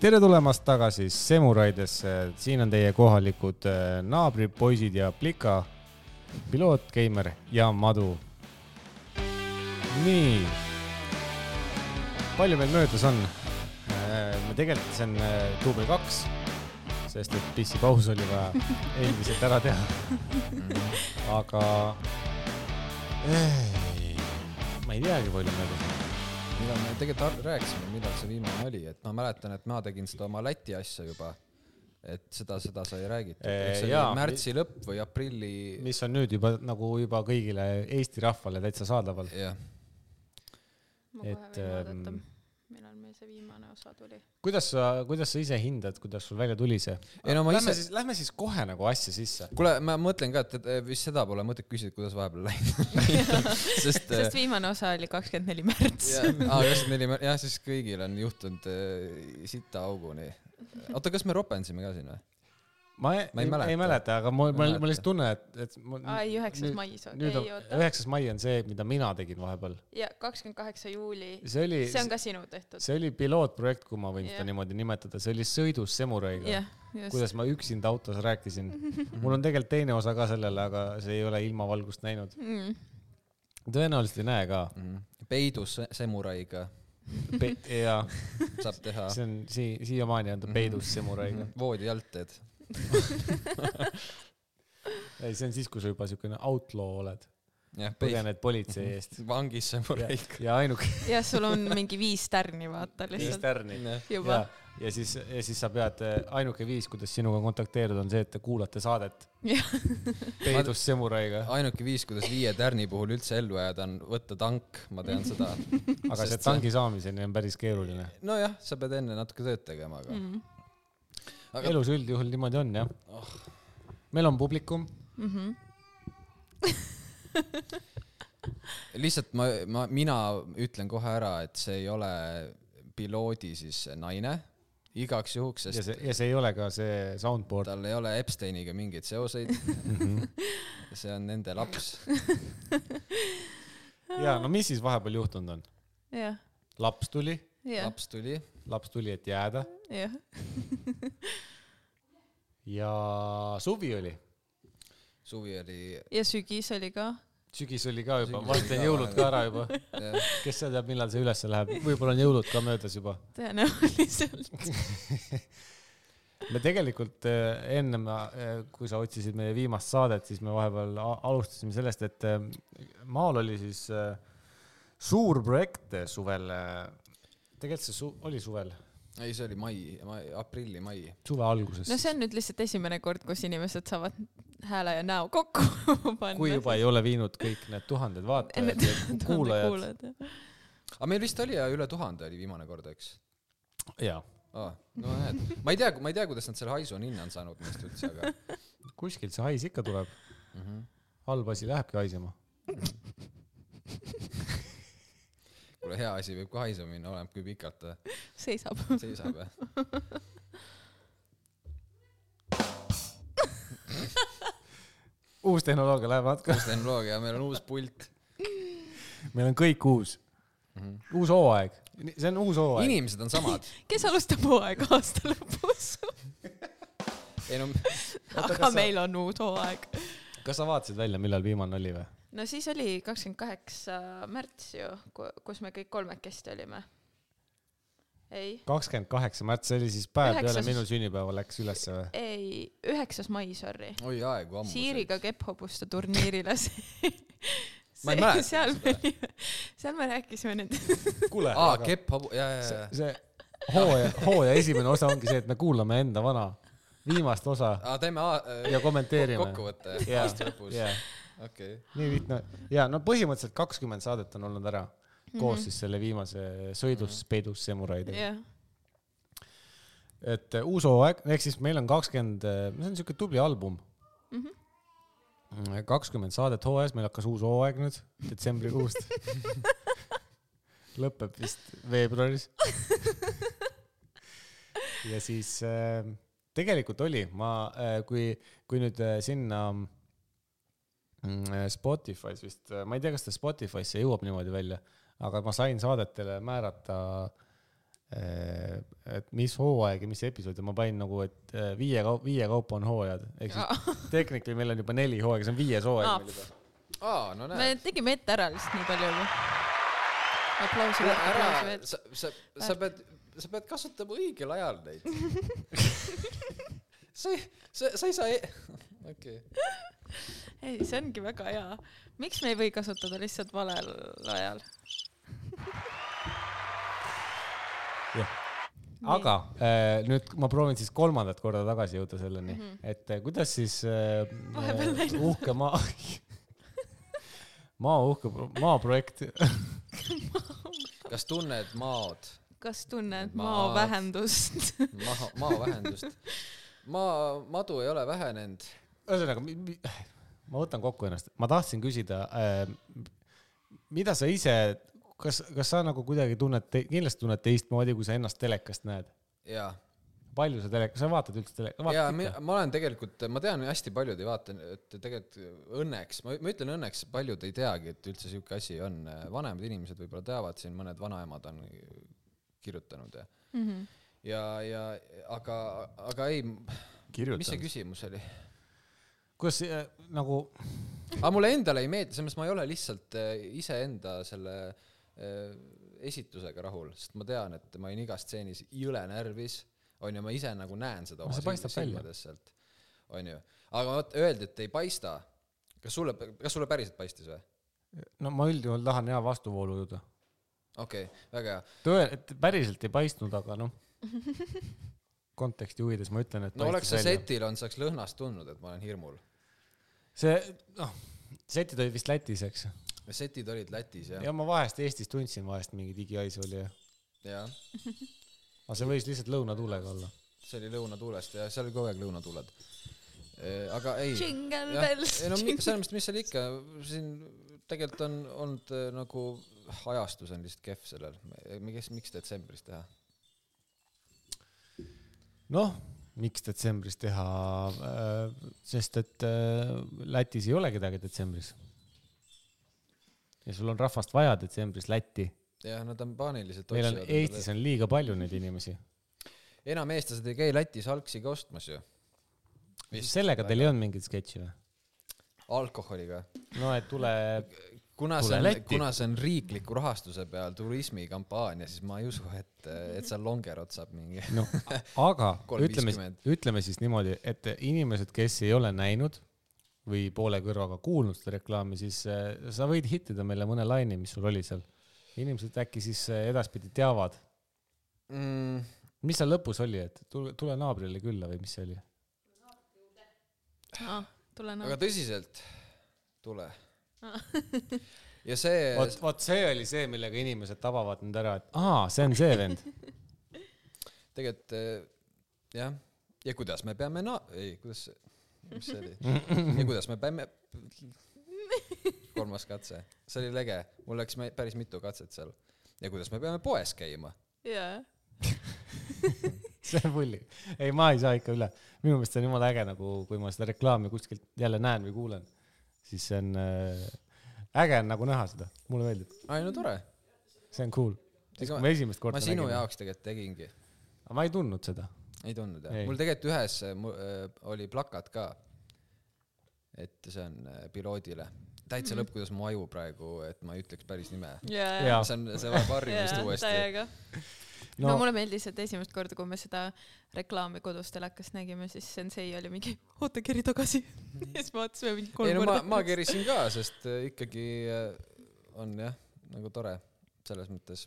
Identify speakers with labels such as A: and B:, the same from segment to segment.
A: tere tulemast tagasi Semuraidesse , siin on teie kohalikud äh, naabripoisid ja Plika , piloot , Keimer ja Madu . nii , palju meil möödas on ? me tegelikult , see on äh, duubel kaks , sest et pissipaus oli vaja endiselt ära teha . aga ei, ma ei teagi , palju möödas on .
B: millal me tegelikult ar- rääkisime , millal see viimane oli , et ma mäletan , et ma tegin seda oma Läti asja juba . et seda , seda sai räägitud .
A: Eh,
B: eks see
A: jaa.
B: oli märtsi lõpp või aprilli ,
A: mis on nüüd juba nagu juba kõigile Eesti rahvale täitsa saadaval .
B: jah .
C: ma kohe
A: Et,
C: võin
A: ähm,
C: vaadata , millal meil see viimane osa tuli .
A: kuidas sa , kuidas sa ise hindad , kuidas sul välja tuli see ?
B: Ei no ma
A: lähme
B: ise-
A: siis , lähme siis kohe nagu asja sisse .
B: kuule , ma mõtlen ka , et , et eh, vist seda pole mõtet küsida , kuidas vahepeal läinud . sest eh,
C: sest viimane osa oli kakskümmend neli märts .
B: jah , kakskümmend neli , jah , siis kõigil on juhtunud eh, sita auguni . oota , kas me ropendasime ka siin või ?
A: ma ei,
B: Ma ei
A: ei mäleta,
B: mäleta.
A: ei mäleta , aga mul ,
B: Ma ei
A: mul ,
B: mäleta.
A: mul lihtsalt tunne , et , et ma,
C: ai , üheksas mai ,
A: nüüd
C: ei
A: on ,
C: oota .
A: üheksas mai on see , mida mina tegin vahepeal .
C: ja kakskümmend kaheksa juuli ,
A: see oli ,
C: see on ka sinu tehtud .
A: see oli pilootprojekt , kui ma võin seda
C: Jah.
A: niimoodi nimetada , see oli sõidus Semuraiga .
C: jah , just .
A: kuidas ma üksinda autos rääkisin . mul on tegelikult teine osa ka sellele , aga see ei ole ilmavalgust näinud .
C: Mm.
A: tõenäoliselt ei näe ka
B: peidus Mhm. se- semuraiga
A: Pe . jaa
B: saab teha Mhm.
A: see on sii- , siiamaani on ta peidus Semuraiga .
B: voodi alt teed .
A: ei , see on siis , kui sa juba siukene outlaw oled ,
B: jah , peidus
A: põgened politsei eest .
B: vangis semuraiga .
A: ja ainuke
C: jah , sul on mingi viis tärni , vaata
A: viis
C: lihtsalt
A: tärni .
C: juba
A: ja , ja siis , ja siis sa pead , ainuke viis , kuidas sinuga kontakteeruda , on see , et te kuulate saadet
C: jah ,
A: peidus Semuraiga .
B: ainuke viis , kuidas viie tärni puhul üldse ellu jääda , on võtta tank , ma tean seda .
A: aga see
B: Sest see-
A: tangi saamiseni on päris keeruline .
B: nojah , sa pead enne natuke tööd tegema , aga mm. . Aga- Ah.
A: elus üldjuhul niimoodi on jah . meil on publikum ,
C: Mhm.
B: lihtsalt ma , ma , mina ütlen kohe ära , et see ei ole piloodi siis naine igaks juhuks ,
A: ja
B: sest
A: see , ja see ei ole ka see
C: Ah.
A: soundboard .
B: tal ei ole Epsteiniga mingeid seoseid .
A: Mhm.
B: see on nende laps .
A: ja no mis siis vahepeal juhtunud on ?
C: jah ,
A: laps tuli ,
C: jah ,
B: laps tuli ,
A: laps tuli , et jääda
C: jah .
A: ja suvi oli
B: suvi oli ,
C: ja sügis oli ka .
A: sügis oli ka juba ,
B: Sügis
A: varsti
B: oli
A: on
B: ka
A: jõulud ka ära juba .
B: jah ,
A: kes seal teab , millal see ülesse läheb , võib-olla on jõulud ka möödas juba .
C: tõenäoliselt .
A: me tegelikult eh, ennem , kui sa otsisid meie viimast saadet , siis me vahepeal a- alustasime sellest , et eh, maal oli siis eh, suur projekt eh, suvel . tegelikult see su- oli suvel ,
B: ei , see oli mai, mai , aprilli-mai .
A: suve alguses
C: no see on nüüd lihtsalt esimene kord , kus inimesed saavad hääle ja näo kokku panna .
A: kui juba ei ole viinud kõik need tuhanded vaatajad ja kuulajad .
C: kuulajad .
B: aga meil vist oli ja üle tuhande oli viimane kord , eks ?
A: jaa ,
B: aa , no näed , ma ei tea , ma ei tea , kuidas nad selle haisu on hinna on saanud meist üldse , aga
A: kuskilt see hais ikka tuleb ,
B: mm . -hmm.
A: halb asi lähebki haisema .
B: kuule , hea asi võib ka haisema minna , oleneb kui pikalt ta
C: seisab .
B: seisab ja .
A: uus tehnoloogia läheb natuke ,
B: uus tehnoloogia , meil on uus pult .
A: meil on kõik uus
B: Mhm. ,
A: uus hooaeg , see on uus hooaeg .
B: inimesed on samad .
C: kes alustab hooaega aasta lõpus ?
B: ei no ,
C: aga meil on uus hooaeg .
A: kas sa vaatasid välja , millal viimane oli või ?
C: no siis oli kakskümmend kaheksa märts ju , kus me kõik kolmekesti olime . ei ,
A: kakskümmend kaheksa märts , see oli siis päev peale
C: Üheksas-
A: minu sünnipäeva läks ülesse või ?
C: ei , üheksas mai , sorry .
B: oi aegu ammu .
C: Siiriga . kepphobuste turniirile see,
B: Ma ei mäleta
C: seal me , seal me rääkisime nüüd ,
A: kuule
B: aa ,, Äh. kepp , ja , ja ,
A: see,
B: ja .
A: see hooaja , hooaja esimene osa ongi see , et me kuulame enda vana viimast osa
B: aa , teeme aa-
A: ja kommenteerime .
B: kokkuvõtte
A: Jaa.
B: aasta lõpus .
A: jaa ,
B: okei .
A: nii lihtne ja no põhimõtteliselt kakskümmend saadet on olnud ära koos siis selle viimase sõidus peidus semuraidega ,
C: jah .
A: et eh, uus hooaeg , ehk siis meil on kakskümmend , see on siuke tubli album . kakskümmend saadet hooajas , meil hakkas uus hooaeg nüüd detsembrikuust . lõpeb vist veebruaris . ja siis äh, tegelikult oli , ma äh, , kui , kui nüüd äh, sinna mm, Spotify's vist , äh, ma ei tea , kas ta Spotify'sse jõuab niimoodi välja , aga ma sain saadetele määrata äh, et mis hooaeg ja mis episood ja ma panin nagu , et eh, viie , viie kaupa on hooajad , ehk siis Technically meil on juba neli hooaega , see on viies hooaeg
C: Aa.
A: meil juba .
B: aa , no
C: me
B: näed .
C: tegime ette ära lihtsalt nii palju juba . aplausi vett , aplausi
B: ära ,
C: vett .
B: sa , sa , sa pead , sa pead kasutama õigel ajal neid . sa ei , sa , sa ei saa e , okei okay. .
C: ei , see ongi väga hea . miks me ei või kasutada lihtsalt valel ajal ?
A: aga eh, nüüd ma proovin siis kolmandat korda tagasi jõuda selleni mm ,
C: Mhm.
A: -hmm. et eh, kuidas siis eh,
C: Vahepeal
A: eh,
C: läinud.
A: uhke maa , maa uhke , maaprojekt
B: kas tunned maod ,
C: kas tunned
B: Ma-
C: mao vähendust ?
B: maha , maavähendust ? maa , madu ei ole vähenenud .
A: ühesõnaga , ma võtan kokku ennast , ma tahtsin küsida äh, , mida sa ise , kas , kas sa nagu kuidagi tunned , kindlasti tunned teistmoodi , kui sa ennast telekast näed ?
B: jaa ,
A: palju sa telekas , sa vaatad üldse telekat ,
B: ja
A: vaatad
B: mi-
A: ikka ?
B: ma olen tegelikult , ma tean , hästi paljud ei vaata , et tegelikult õnneks , ma ma ütlen õnneks , paljud ei teagi , et üldse siuke asi on . vanemad inimesed võib-olla teavad , siin mõned vanaemad on kirjutanud ja , ja , ja aga , aga ei , mis see
D: kirjutanud .
B: küsimus oli ?
A: kuidas see, äh, nagu ,
B: aga mulle endale ei meeldi , selles mõttes ma ei ole lihtsalt äh, iseenda selle äh, esitusega rahul , sest ma tean , et ma olin igas stseenis jõle närvis , onju , ma ise nagu näen seda
A: No see paistab välja.
B: silmades sealt , onju . aga vot öeldi , et ei paista . kas sulle , kas sulle päriselt paistis või ?
A: no ma üldjuhul tahan hea vastuvoolu jõuda .
B: okei okay, , väga hea .
A: tõe , et päriselt ei paistnud , aga noh , konteksti huvides ma ütlen , et
B: no oleks see
A: välja.
B: setil olnud , sa oleks lõhnast tundnud , et ma olen hirmul .
A: see , noh , setid olid vist Lätis , eks ?
B: setid olid Lätis ja ,
A: ja ma vahest Eestis tundsin vahest mingi digihaisu oli ja ,
B: jah
A: aga see võis lihtsalt lõunatuulega olla .
B: see oli lõunatuulest ja seal oli kogu aeg lõunatuuled . aga ei .
C: Jingle
B: Jah.
C: bells,
B: ei no mi-
C: jingle-
B: selles mõttes , mis seal ikka , siin tegelikult on olnud äh, nagu ajastus on lihtsalt kehv sellel , miks , miks detsembris teha ?
A: noh , miks detsembris teha , sest et äh, Lätis ei ole kedagi detsembris . ja sul on rahvast vaja detsembris Lätti ,
B: jah , nad on paaniliselt
A: meil on Eestis on liiga palju neid inimesi .
B: enam eestlased ei käi Lätis alksiga ostmas ju .
A: sellega teil ei olnud mingit sketši või ?
B: alkoholiga .
A: no et tule ,
B: kuna
A: Tule
B: see on
A: Lätti. ,
B: kuna see on riikliku rahastuse peal turismikampaania , siis ma ei usu , et , et seal longerot saab mingi .
A: noh , aga
B: Kolm
A: ütleme
B: viiskümmend. ,
A: ütleme siis niimoodi , et inimesed , kes ei ole näinud või poole kõrvaga kuulnud seda reklaami , siis äh, sa võid hittida meile mõne laine , mis sul oli seal . inimesed äkki siis äh, edaspidi teavad ,
B: Mm,
A: mis seal lõpus oli , et tule , tule naabrile külla või mis see oli ?
C: tule
B: aga
C: nagu .
B: tõsiselt , tule
C: Aa. .
B: ja see ,
A: vot , vot see oli see , millega inimesed tabavad nüüd ära , et aa , see on see vend .
B: tegelikult eh, jah , ja kuidas me peame na- , ei , kuidas , mis see oli ? ja kuidas me peame , kolmas katse , see oli lege , mul läks me- päris mitu katset seal . ja kuidas me peame poes käima ?
C: jaa .
A: see on pulli . ei , ma ei saa ikka üle . minu meelest see on jumala äge nagu , kui ma seda reklaami kuskilt jälle näen või kuulen , siis see on äh, äge on nagu näha seda , mulle meeldib ,
B: ai no tore ,
A: see on cool . siis
B: Ega
A: kui ma esimest korda
B: ma sinu
A: nägin ,
B: jaoks tegelikult tegingi ,
A: ma ei tundnud seda .
B: ei tundnud jah
A: Ei. ,
B: mul tegelikult ühes eh, mu- eh, oli plakat ka . et see on eh, piloodile , täitsa lõpp , kuidas mu aju praegu , et ma ei ütleks päris nime .
A: Jaa.
C: jaa .
B: see on , see vajab harjumist uuesti .
C: täiega . no
A: no
C: mulle meeldis , et esimest korda , kui me seda reklaami kodus telekast nägime , siis sensei oli mingi oota , keri tagasi . ja siis vaatasime mingi kolm
B: ei no ma , ma
C: korda .
B: kerisin ka , sest äh, ikkagi äh, on jah , nagu tore selles mõttes .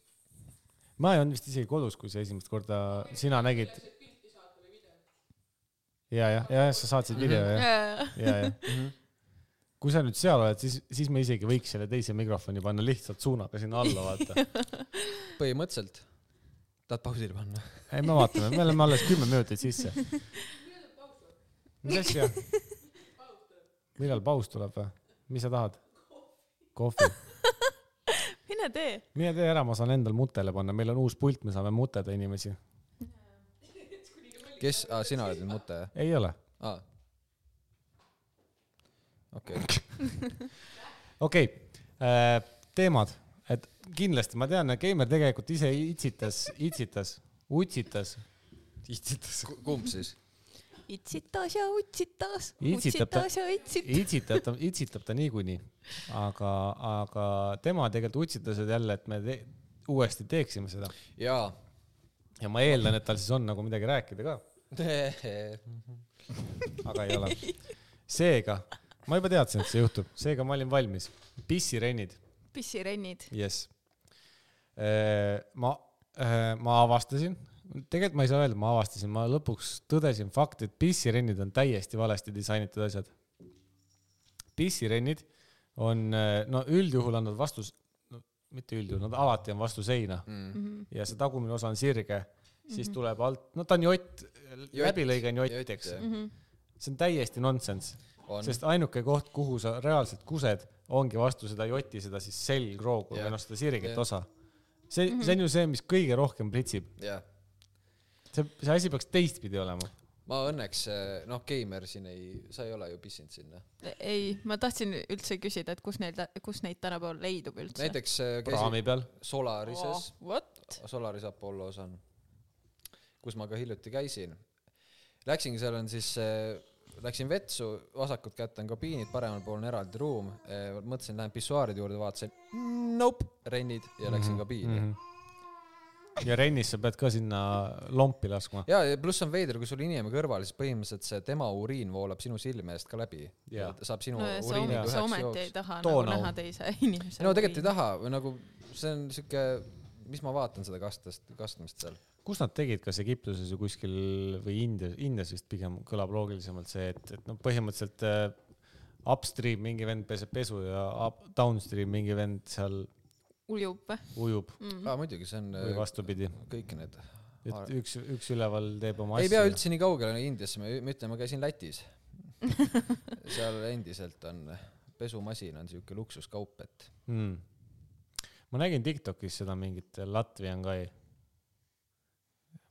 A: ma ei olnud vist isegi kodus , kui sa esimest korda , sina nägid . ja , jah , ja sa saatsid video
C: Mhm.
A: jah .
C: jaa ,
A: ja , ja . kui sa nüüd seal oled , siis , siis me isegi võiks selle teise mikrofoni panna lihtsalt suunaga sinna alla , vaata .
B: põhimõtteliselt . tahad pausile panna ?
A: ei , me vaatame , me oleme alles kümme minutit sisse . mis asja ? millal paus tuleb või ? mis sa tahad ? kohvi .
C: mine tee .
A: mine tee ära , ma saan endal mutele panna , meil on uus pult , me saame muteda inimesi .
B: kes ah, , sina oled nüüd mute jah
A: ei ole ?
B: ah. ? okei okay. ,
A: okei okay. , äh, teemad . et kindlasti ma tean , et Keimer tegelikult ise itsitas , itsitas , utsitas ,
B: itsitas . kumb siis ?
C: itsitas ja utsitas ,
A: Itsitab ta-
C: utsitas ja itsit- .
A: itsitab ta , itsitab ta niikuinii . aga , aga tema tegelikult utsitas et jälle , et me te uuesti teeksime seda
B: jaa .
A: ja ma eeldan , et tal siis on nagu midagi rääkida ka ,
B: Mm.
A: aga ei ole . seega , ma juba teadsin , et see juhtub , seega ma olin valmis . pissirennid ,
C: pissirennid .
A: jess . Äh, ma , ma avastasin , tegelikult ma ei saa öelda , ma avastasin , ma lõpuks tõdesin fakti , et pissirennid on täiesti valesti disainitud asjad . pissirennid on , no üldjuhul on nad vastus , no mitte üldjuhul , nad alati on vastu seina
C: Mhm.
A: ja see tagumine osa on sirge , siis mm -hmm. tuleb alt , no ta on jott, jott , läbilõige on jott ,
B: jott,
A: eks
B: jah. .
C: Mhm.
A: see on täiesti nonsense ,
B: on .
A: sest ainuke koht , kuhu sa reaalselt kused , ongi vastu seda jotti , seda siis selgroogu
B: Jah.
A: või noh , seda sirget
B: Jah.
A: osa . see mm , -hmm. see on ju see , mis kõige rohkem pritsib ,
B: jah .
A: see , see asi peaks teistpidi olema .
B: ma õnneks , noh , Keimer siin ei , sa ei ole ju pissinud sinna .
C: E-, ei , ma tahtsin üldse küsida , et kus neil , kus neid tänapäeval leidub üldse . Oh,
B: näiteks äh, käisin
A: raami peal ,
B: Solarises ,
C: What ?
B: Solaris Apollos on , kus ma ka hiljuti käisin . Läksingi , seal on siis , läksin vetsu , vasakult kätt on kabiinid , paremal pool on eraldi ruum . mõtlesin , lähen pissuaaride juurde , vaatasin , nope , rennid ja läksin kabiini mm . -hmm.
A: Mhm. ja rennis sa pead ka sinna lompi laskma .
B: ja , ja pluss on veider , kui sul inimene kõrval , siis põhimõtteliselt see tema uriin voolab sinu silme eest ka läbi .
A: Jaa.
B: saab sinu
C: no
B: no,
C: ja sa,
B: uriiniga
A: umi-
C: sa
B: üheks
C: ometi ei
B: jooks .
C: taha nagu
A: Toonau.
C: näha teise inimese .
B: no tegelikult ei . taha või nagu see on siuke , mis ma vaatan seda kastest , kastmist seal .
A: kus nad tegid , kas Egiptuses või kuskil või Indias , Indias vist pigem kõlab loogilisemalt see , et , et noh , põhimõtteliselt äh, upstream mingi vend peseb pesu ja up, downstream mingi vend seal
C: uljub või ? Mm.
A: ujub
B: aa , muidugi , see on eh,
A: või vastupidi ,
B: kõik need .
A: et üks , üks üleval teeb oma
B: ei pea
A: asju .
B: üldse nii kaugele Indiasse , ma ma ütlen , ma käisin Lätis . seal endiselt on , pesumasin on siuke luksuskaup , et
A: Mm. ma nägin Tiktokis seda mingit Latvian guy ,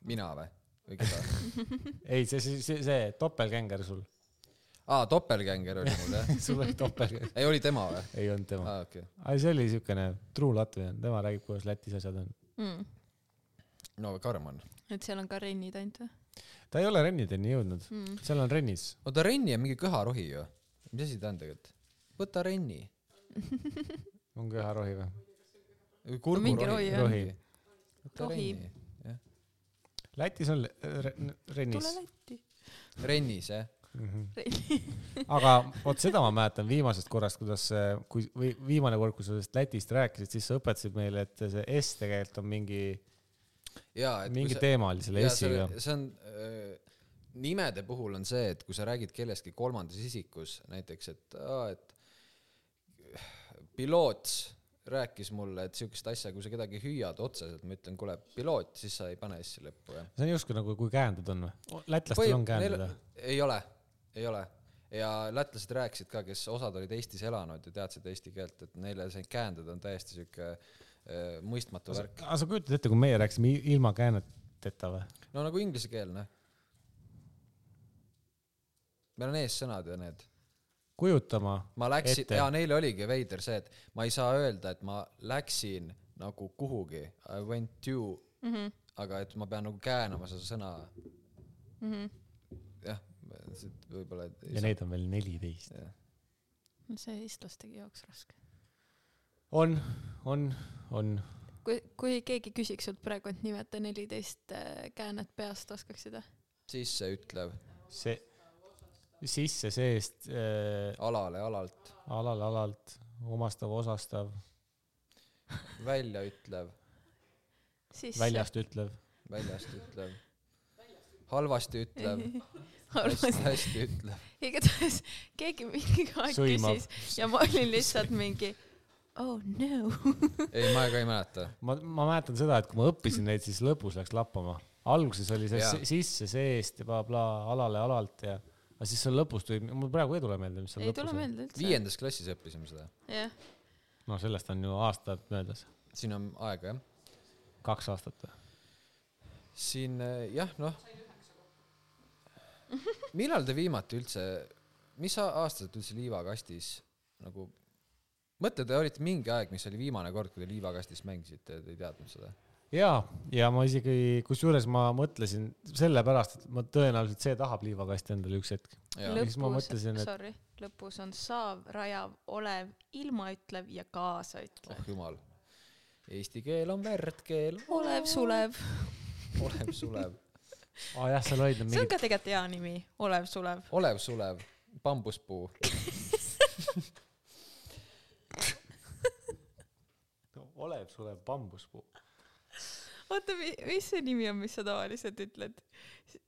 B: mina või ? või keda ?
A: ei see , see , see, see topelgänger sul ,
B: aa , topelgänger oli mul jah ?
A: sul oli topelgänger ,
B: ei , oli tema või ?
A: ei olnud tema ,
B: aa , okei okay. .
A: aga see oli siukene true latvian , tema räägib , kuidas Lätis asjad on .
C: Mm.
B: no karm on .
C: et seal on ka rennid ainult või ?
A: ta ei ole rennideni jõudnud mm. , seal on rennis
B: oota , renni on mingi köharohi ju . mis asi ta on tegelikult ? võta renni .
A: on köharohi või ?
C: mingi rohi
B: kurgurohi .
C: on.
A: Rohi.
B: võta
C: Rohi.
B: renni .
A: Lätis on le- re- rennis Mhm.
C: tule , Lätti .
B: rennis jah ?
A: aga vot seda ma mäletan viimasest korrast , kuidas , kui või viimane kord , kui sa sellest Lätist rääkisid , siis sa õpetasid meile , et see S tegelikult on mingi ,
B: jaa , et kui
A: mingi
B: sa-
A: teema oli selle
B: jaa,
A: S-iga .
B: see- see on , nimede puhul on see , et kui sa räägid kellestki kolmandas isikus , näiteks et , et äh, piloot rääkis mulle , et siukest asja , kui sa kedagi hüüad otseselt , ma ütlen , kuule , piloot , siis sa ei pane S-i lõppu , jah .
A: see on justkui nagu , kui käänded on või ? lätlastel on käänded või ?
B: ei ole , ei ole . ja lätlased rääkisid ka , kes osad olid Eestis elanud ja teadsid eesti keelt , et neile see käänded on täiesti siuke äh, mõistmatu värk .
A: aga sa kujutad ette , kui meie rääkisime i- ilma kääneteta või ?
B: no nagu inglisekeelne . meil on eessõnad ja need .
A: kujutama ,
B: ma läksin ,
A: Ette.
B: ja neil oligi veider see , et ma ei saa öelda , et ma läksin nagu kuhugi , I went to mm ,
C: Mhm,
B: -hmm. aga et ma pean nagu käänama seda sõna mm .
C: mhm.
B: -hmm. jah , võib-olla et
A: ja neid on veel neliteist .
B: saa .
C: no see eestlastegi jaoks raske .
A: on , on , on .
C: kui , kui keegi küsiks sult praegu , et nimeta neliteist äh, käänet peast , oskaksid või ?
B: sisseütlev ,
A: see , sisse , seest äh, ,
B: alale , alalt ,
A: alal , alalt , omastav , osastav ,
B: väljaütlev ,
C: siis
A: väljast ütlev .
B: väljast ütlev , halvasti ütlev , hästi,
C: arvasin ,
B: hästi ütlev .
C: igatahes keegi mingi aeg
A: Sõimab.
C: küsis ja ma olin lihtsalt mingi oh no .
B: ei , ma ka ei mäleta .
A: ma , ma mäletan seda , et kui ma õppisin neid , siis lõpus läks lappama . alguses oli see
B: Jaa.
A: si- sisse , seest ja blablabla , alale , alalt ja , aga siis seal lõpus tuli , mul praegu ei tule meelde , mis seal
C: ei tule
A: lõpus oli .
C: meelde üldse .
B: viiendas klassis õppisime seda ,
C: jah ,
A: no sellest on ju aastad möödas ,
B: siin on aega jah .
A: kaks aastat või ?
B: siin äh, jah , noh . millal te viimati üldse , mis a- aastaselt üldse liivakastis nagu mõtle , te olite mingi aeg , mis oli viimane kord , kui te liivakastist mängisite , te ei teadnud seda .
A: ja , ja ma isegi , kusjuures ma mõtlesin sellepärast , et ma tõenäoliselt see tahab liivakasti endale üks hetk .
B: jaa ,
A: Lõpp. siis ma mõtlesin, et-
C: sorry , lõpus on saav , rajav , olev , ilmaütlev ja kaasaütlev .
B: oh jumal . Eesti keel on värdkeel ,
C: olev , sulev .
B: olev sulev ,
A: aa jah , seal olid need
C: see on
A: mingid ,
C: ka tegelikult hea nimi , olev , sulev .
B: olev sulev , bambuspuu .
A: olev sulev bambuspuu .
C: oota , mis see nimi on , mis sa tavaliselt ütled ?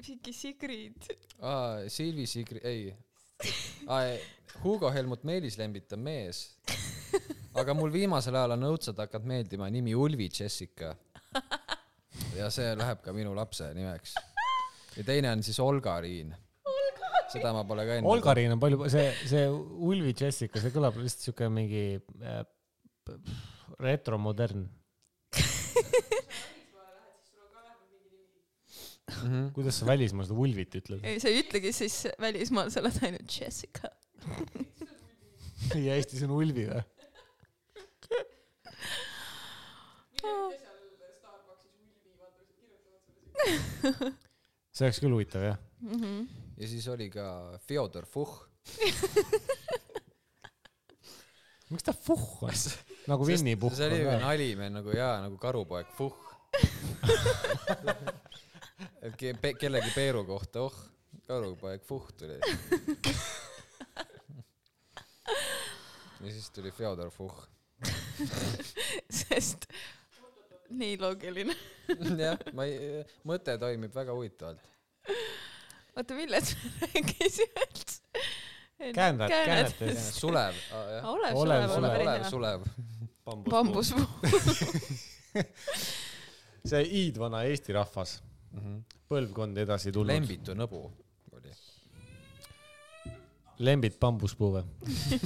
C: mingi Sigrid .
B: aa , Silvi Sigri , ei . Hugo Helmut Meelis Lembit on mees . aga mul viimasel ajal on õudselt hakanud meeldima nimi Ulvi Jessica . ja see läheb ka minu lapse nimeks . ja teine on siis Olga-Riin . seda ma pole ka enne .
A: Olgariin on palju , see , see Ulvi Jessica , see kõlab lihtsalt siuke mingi äh, p- p- retromodern .
B: Mhm.
A: kuidas sa välismaal seda Ulvit ütled ?
C: ei , sa ei ütlegi siis välismaal , sa oled ainult Jessica .
A: ja Eestis on Ulvi või ? see oleks küll huvitav jah .
B: ja siis oli ka Fyodor Fuhh .
A: miks ta Fuhh on ? nagu Winny Puhh
B: see oli ju
A: on ka .
B: nali meil nagu jaa , nagu karupoeg Fuhh . et ke- pe- kellegi Peeru kohta , oh , karupoeg Fuhh tuli . ja siis tuli Fyodor Fuhh .
C: sest nii loogiline .
B: jah , ma ei , mõte toimib väga huvitavalt .
C: oota , millest me rääkisime üldse ?
A: Käändad- käänetest.
B: sulev , jah .
C: olev ,
A: Olev, sulev.
C: sulev , olev ,
B: olev
C: erinev .
B: sulev .
C: bambuspuu .
A: see iidvana Eesti rahvas , põlvkond edasi tulnud .
B: Mhm. lembitu nõbu oli .
A: lembid bambuspuu või ?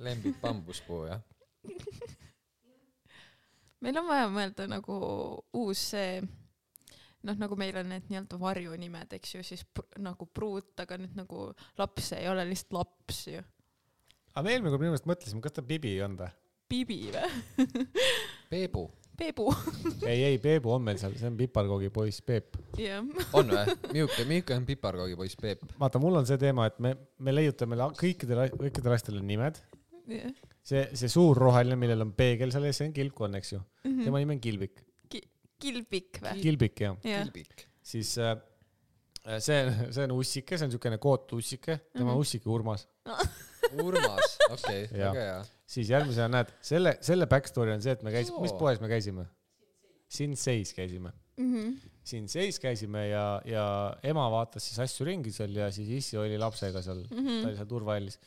B: lembit bambuspuu , jah .
C: meil on vaja mõelda nagu uus see , noh , nagu meil on need nii-öelda varjunimed , eks ju , siis pr nagu pruut , aga nüüd nagu laps ei ole lihtsalt laps ju .
A: aga me eelmine kord minu meelest mõtlesime , kas ta Bibi on või ?
C: Bibi või ?
B: Peebu
C: Peebu .
A: ei , ei Peebu on meil seal , see on piparkoogipoiss Peep .
C: jah .
B: on või ? Miuke , Miuke on piparkoogipoiss Peep .
A: vaata , mul on see teema , et me , me leiutame la- kõikidele , kõikidele asjadele nimed . see , see suur roheline , millel on peegel seal ees , see on kilpkonn , eks ju . tema nimi on Kilbik .
C: Kilbik või ?
A: Kilbik , jah .
C: jah ,
B: kilbik .
A: siis äh, see , see on ussike , see on niisugune kootussike , tema on ussike Urmas .
B: Urmas , okei ,
A: Jah.
B: väga hea .
A: siis järgmisena näed , selle , selle back story on see , et me käisime , mis
B: Oo.
A: poes me käisime ? Sinseis käisime .
C: Mhm.
A: Sinseis käisime ja , ja ema vaatas siis asju ringi seal ja siis issi oli lapsega seal mm , -hmm. ta oli seal turvahallis .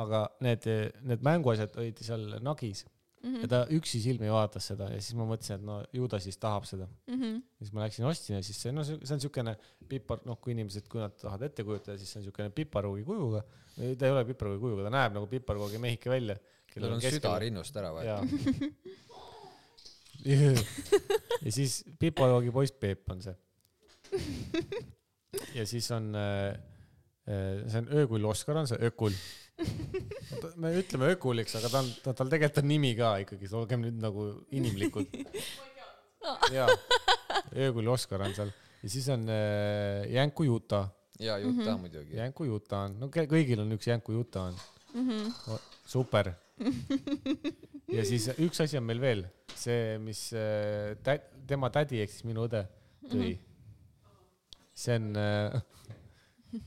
A: aga need , need mänguasjad olid seal nagis mm -hmm. ja ta üksi silmi vaatas seda ja siis ma mõtlesin , et no ju ta siis tahab seda mm .
C: Mhm.
A: -hmm. siis ma läksin ostsin ja siis see , no see see on siukene pipar , noh , kui inimesed , kui nad tahavad ette kujutada , siis see on siukene piparkoogi kujuga . ta ei ole piparkoogi kujuga , ta näeb nagu piparkoogi mehike välja .
B: tal on süda rinnust ära võetud .
A: jaa . ja siis Pipajoogi poiss Peep on see . ja siis on , see on Öökull Oskar on see Ökul . me ütleme Ökuliks , aga ta on , ta , tal tegelikult on nimi ka ikkagi , olgem nüüd nagu inimlikud . jaa , Öökull Oskar on seal ja siis on äh, Jänku Juta ,
B: ja
C: Mhm.
B: Juta muidugi .
A: Jänku Juta on , no ke- kõigil on üks Jänku Juta on O- super . ja siis üks asi on meil veel , see , mis äh, tä- , tema tädi ehk siis minu õde tõi . see on äh, ,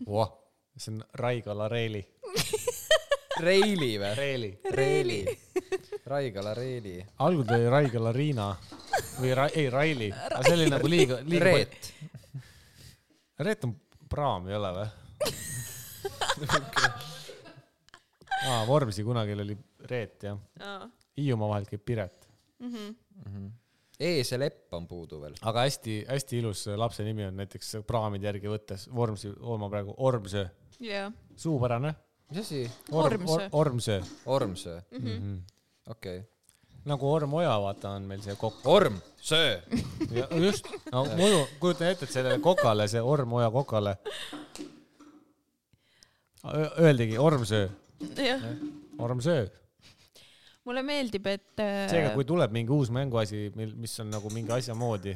A: voh , see on Raigala Reeli .
B: Reili või ?
A: Reeli .
B: Reili . Raigala Reili .
A: algul ta oli Raigala Riina või Ra- , ei Raili , aga see oli nagu liiga , liiga .
B: Reet .
A: Reet on praam , ei ole või ? aa , Vormsi kunagi oli Reet jah , Hiiumaa vahelt käib Piret
C: Mhm.
B: Mhm. ees ja lepp on puudu veel .
A: aga hästi-hästi ilus äh, lapse nimi on näiteks praamide järgi võttes Vormsi , oo ma praegu , Ormsöö ,
C: jah .
A: suupärane .
B: mis asi ?
C: Ormsöö.
A: Ormsöö ,
B: Ormsöö ?
C: Mhm.
A: Mhm.
B: okei .
A: nagu Orm Oja , vaata , on meil see kokk .
B: Orm , söö .
C: Mhm.
A: just , no muidu kujutan ette , et sellele kokale , see Orm Oja kokale . Öeldigi Ormsöö ,
C: jah ,
A: Ormsöö ,
C: mulle meeldib , et äh,
A: seega , kui tuleb mingi uus mänguasi , mil , mis on nagu mingi asja moodi ,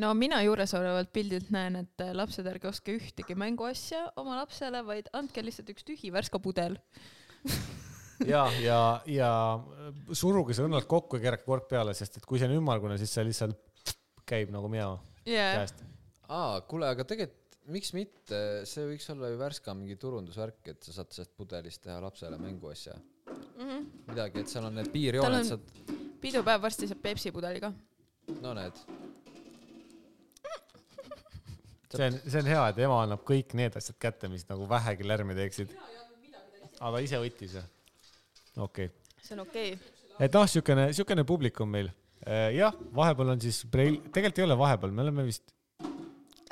C: no mina juuresolevalt pildilt näen , et äh, lapsed , ärge ostke ühtegi mänguasja oma lapsele , vaid andke lihtsalt üks tühi värske pudel .
A: ja , ja , ja suruge see õnnelt kokku ja keerake kork peale , sest et kui see on ümmargune , siis see lihtsalt käib nagu mina
C: jaa ,
A: käest .
B: aa , kuule , aga tegelikult miks mitte , see võiks olla ju värska mingi turundusvärk , et sa saad sellest pudelist teha lapsele mänguasja . midagi , et seal on need
C: Mhm. Tal
B: piirjooned ,
C: on-
B: saad ,
C: pidupäev varsti saab Pepsi pudeli ka .
B: no näed .
A: see on , see on hea , et ema annab kõik need asjad kätte , mis nagu vähegi lärmi teeksid . aga ta ise võttis või ? okei okay. ,
C: see on okei okay. .
A: et noh , siukene , siukene publikum meil . jah , vahepeal on siis preil- , tegelikult ei ole vahepeal , me oleme vist .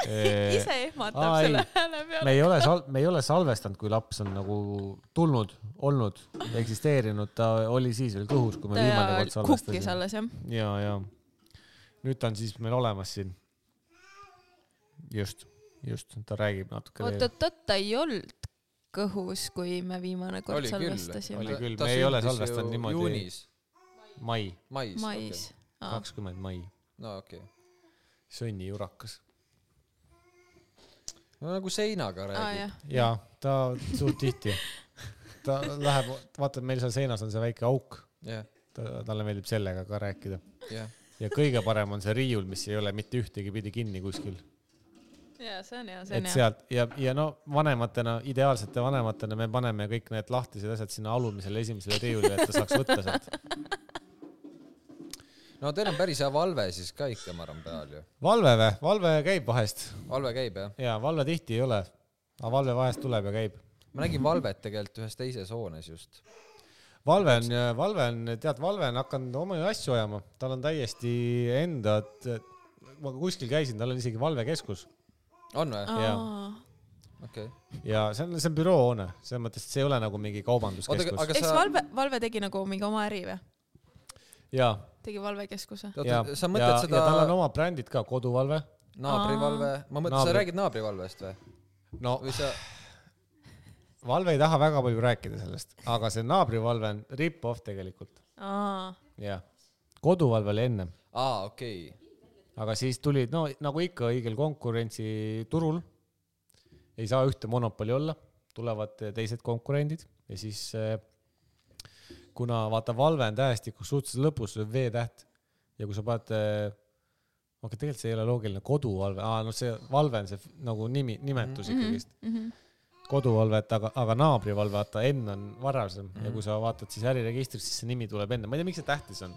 A: eh,
C: ise ehmatab
A: ai.
C: selle hääle
A: me
C: peale .
A: ei ole sal- , me ei ole salvestanud , kui laps on nagu tulnud , olnud , eksisteerinud , ta oli siis veel kõhus , kui me viimane kord
C: ta kukkis
A: salvestasime .
C: alles
A: ja ,
C: jah .
A: ja nüüd ta on siis meil olemas siin . just , just , ta räägib natuke veel .
C: oot-oot-oot , ta ei olnud kõhus , kui me viimane kord
B: Oli küll,
A: oli
C: salvestasime .
A: küll, me ei ole salvestanud niimoodi.
B: juunis ,
A: mai ,
B: mais, mais. .
C: mais .
A: kakskümmend mai ,
B: Okay. no okei okay. .
A: sõnniurakas .
B: no nagu seinaga
C: aa
B: räägid .
C: jah ,
A: ja ta suht tihti , ta läheb , vaata , meil seal seinas on see väike auk ,
B: jah ,
A: ta , talle meeldib sellega ka rääkida .
B: jah .
A: ja kõige parem on see riiul , mis ei ole mitte ühtegi pidi kinni kuskil .
C: jaa , see on hea , see
A: et
C: on hea .
A: sealt ja , ja no vanematena , ideaalsete vanematena me paneme kõik need lahtised asjad sinna alumisele esimesele riiulile , et ta saaks võtta sealt .
B: no teil on päris hea valve siis ka ikka , ma arvan , peal ju .
A: valve või ? valve käib vahest
B: valve käib jah ?
A: ja valve tihti ei ole , aga valve vahest tuleb ja käib .
B: ma nägin valvet tegelikult ühes teises hoones just .
A: valve on , valve on , tead , valve on hakanud oma asju ajama , tal on täiesti enda , ma kuskil käisin , tal on isegi valvekeskus
B: on või ?
A: jaa.
B: okei okay. .
A: ja see on , see on büroohoone , selles mõttes , et see ei ole nagu mingi kaubanduskeskus
B: Oota, aga-
A: aga...
C: eks
B: sa-
C: Valve , Valve tegi nagu mingi oma äri või ?
A: ja ,
C: tegi Valvekeskuse ?
A: ja ,
B: oota , sa
A: ja,
B: mõtled
A: ja
B: seda
A: tal on oma brändid ka , koduvalve .
B: naabrivalve , ma mõtlen , sa
A: Naabri-
B: räägid naabrivalvest või ?
A: no
B: või sa ,
A: Valve ei taha väga palju rääkida sellest , aga see naabrivalve on rip-off tegelikult ,
C: aa ,
A: jah . koduvalve oli ennem ,
B: aa okei okay. ,
A: aga siis tulid , no nagu ikka õigel konkurentsiturul , ei saa ühte monopoli olla , tulevad teised konkurendid ja siis eh, kuna vaata , valve on tähestikus suhteliselt lõpus , see on V-täht ja kui sa paned , okei , tegelikult see ei ole loogiline , koduvalve , aa no see valve on see f- nagu nimi , nimetus ikkagist . koduvalvet , aga , aga naabrivalve , vaata N on varasem mm -hmm. ja kui sa vaatad siis äriregistrist , siis see nimi tuleb enne , ma ei tea , miks see tähtis on ,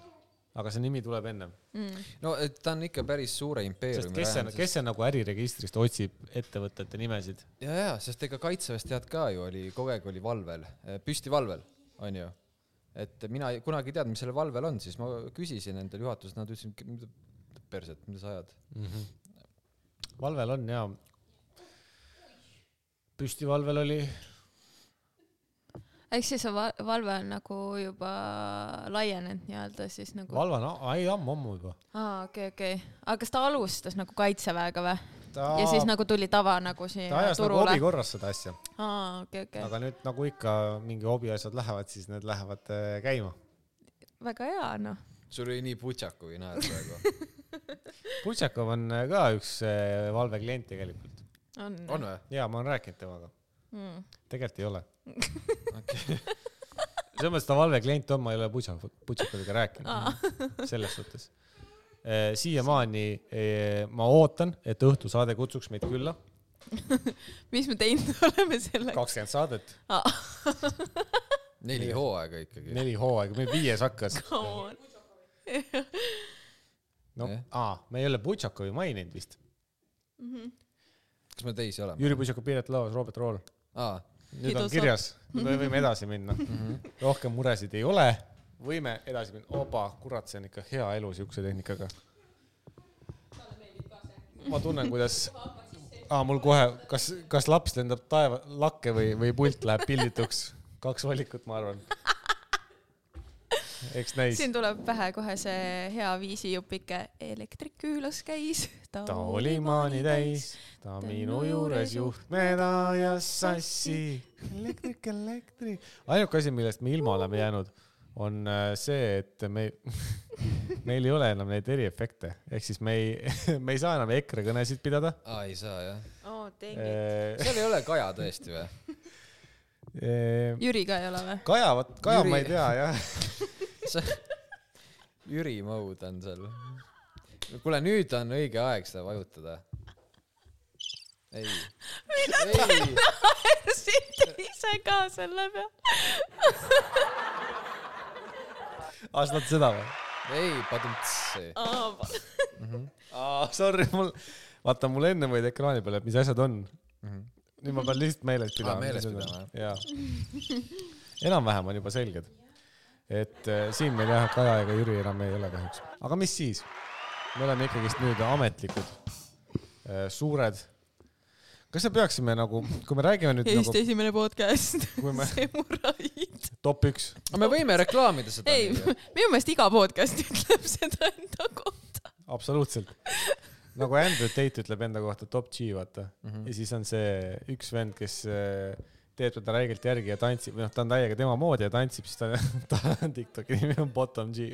A: aga see nimi tuleb ennem ,
C: Mm.
B: no et ta on ikka päris suure
A: sest
B: impeeriumi
A: kes see , kes see nagu äriregistrist otsib ettevõtete nimesid ,
B: ja , ja , sest ega kaitseväes tead ka ju oli , kogu aeg oli valvel , püstivalvel , onju . et mina ei- kunagi ei teadnud , mis sellel valvel on , siis ma küsisin endale juhatuses , nad ütlesid , mida perset , mida sa ajad .
A: valvel on ja püstivalvel oli ,
C: ehk siis see va- Valve on nagu juba laienenud nii-öelda siis nagu .
A: valve on , ei ammu-ammu juba .
C: aa , okei , okei . aga kas ta alustas nagu kaitseväega või ? ja siis nagu tuli tava nagu
A: ta
C: siia
A: ajas nagu
C: turule
A: hobi ? korras seda asja ,
C: aa , okei , okei .
A: aga nüüd nagu ikka mingi hobi asjad lähevad , siis need lähevad äh, käima .
C: väga hea , noh .
B: sul oli nii putšakugi näol praegu .
A: Putšakov on äh, ka üks äh, valve klient tegelikult
C: on .
B: on või ?
A: ja ma olen rääkinud temaga .
C: Mm.
A: tegelikult ei ole .
B: okei ,
A: selles mõttes ta valve klient on , ma ei ole Butša , Butšakoviga rääkinud selles suhtes . siiamaani eh, ma ootan , et õhtusaade kutsuks meid külla ,
C: mis me teinud oleme selleks ?
A: kakskümmend saadet ,
B: neli hooaega ikkagi .
A: neli hooaega , meil viies hakkas .
C: Come on .
A: no
B: Jah.
A: aa , me ei ole Butšakovi maininud vist .
B: kas me teisi oleme ?
A: Jüri Butšakov , Piret Laos , Robert Rool .
B: aa ,
A: nüüd on
C: Kiitos.
A: kirjas , me võime edasi minna . rohkem muresid ei ole , võime edasi minna . oba , kurat , see on ikka hea elu siukse tehnikaga . ma tunnen , kuidas , aa , mul kohe , kas , kas laps lendab taeva , lakke või , või pult läheb pildituks . kaks valikut , ma arvan . eks näis .
C: siin tuleb pähe kohe see hea viisijupike . elektrik külas käis , ta,
A: ta oli maani täis , ta minu juures juhtmed ajas sassi . elektrik , elektrik . ainuke asi , millest me ilma oleme jäänud , on äh, see , et me , meil ei ole enam neid eriefekte , ehk siis me ei , me ei saa enam EKRE kõnesid pidada .
B: aa , ei saa jah .
C: oo , teengi .
A: Kaja ,
B: seal ei ole Kaja tõesti või ?
C: Jüri ka ei ole või ?
A: vot , Äh, Kaja
B: Jüri-
A: ma ei tea jah .
B: Jüri Mõud on seal . kuule , nüüd on õige aeg seda vajutada . ei . ei ,
C: naersite ise ka selle peale .
A: aa , Ah, sa tahad seda või ?
B: ei , padumts .
A: aa , sorry , mul , vaata mul enne võid ekraani peale , et mis asjad on . nüüd ma pean lihtsalt meeles pidama .
B: Mhm. meeles pidama,
A: jah ? jaa . enam-vähem on juba selged . et äh, siin meil jah , Kaja ega Jüri enam ei ole kahjuks . aga mis siis ? me oleme ikkagist nüüd ametlikud , suured . kas me peaksime nagu , kui me räägime nüüd nagu
C: Eesti
A: Eesti.
C: esimene podcast .
A: nagu , kui me
C: Samuraid .
A: top üks ,
B: aga me võime reklaamida seda .
C: ei , minu meelest iga podcast ütleb seda enda kohta .
A: absoluutselt . nagu Andrew Tate ütleb enda kohta top G , vaata
C: Mhm.
B: Mhm.
A: ja siis on see üks vend , kes äh, teeb teda räigelt järgi ja tantsib , või noh , ta on täiega tema moodi ja tantsib , siis ta, ta Tiktoki nimi on Bottom G .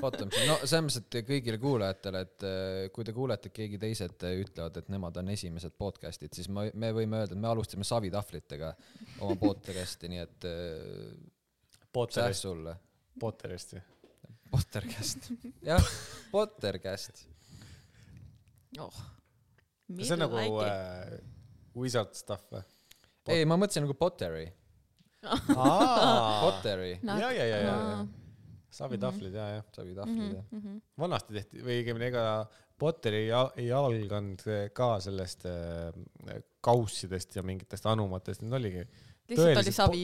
B: Bottom , no selles mõttes , et kõigile kuulajatele , et eh, kui te kuulete , et keegi teised eh, ütlevad , et nemad on esimesed podcast'id , siis ma , me võime öelda , et me alustasime savitahvlitega oma podcast'i , nii et eh, särs
A: Potterist ,
B: sulle .
A: Potterist või ?
B: Pottercast , jah , Pottercast .
C: oh .
A: see on nagu äh, wizard stuff või ?
B: ei , ma mõtlesin nagu Potteri ,
A: ja ,
B: Potteri ,
A: ja , ja , ja , ja ,
C: Mhm.
A: savitahvlid ja , jah .
B: savitahvlid jah .
A: vanasti tehti või õigemini ega Potter ei, a- ei alganud ka sellest äh, kaussidest ja mingitest anumatest , need oligi
C: lihtsalt
A: tõeliselt
C: oli savi .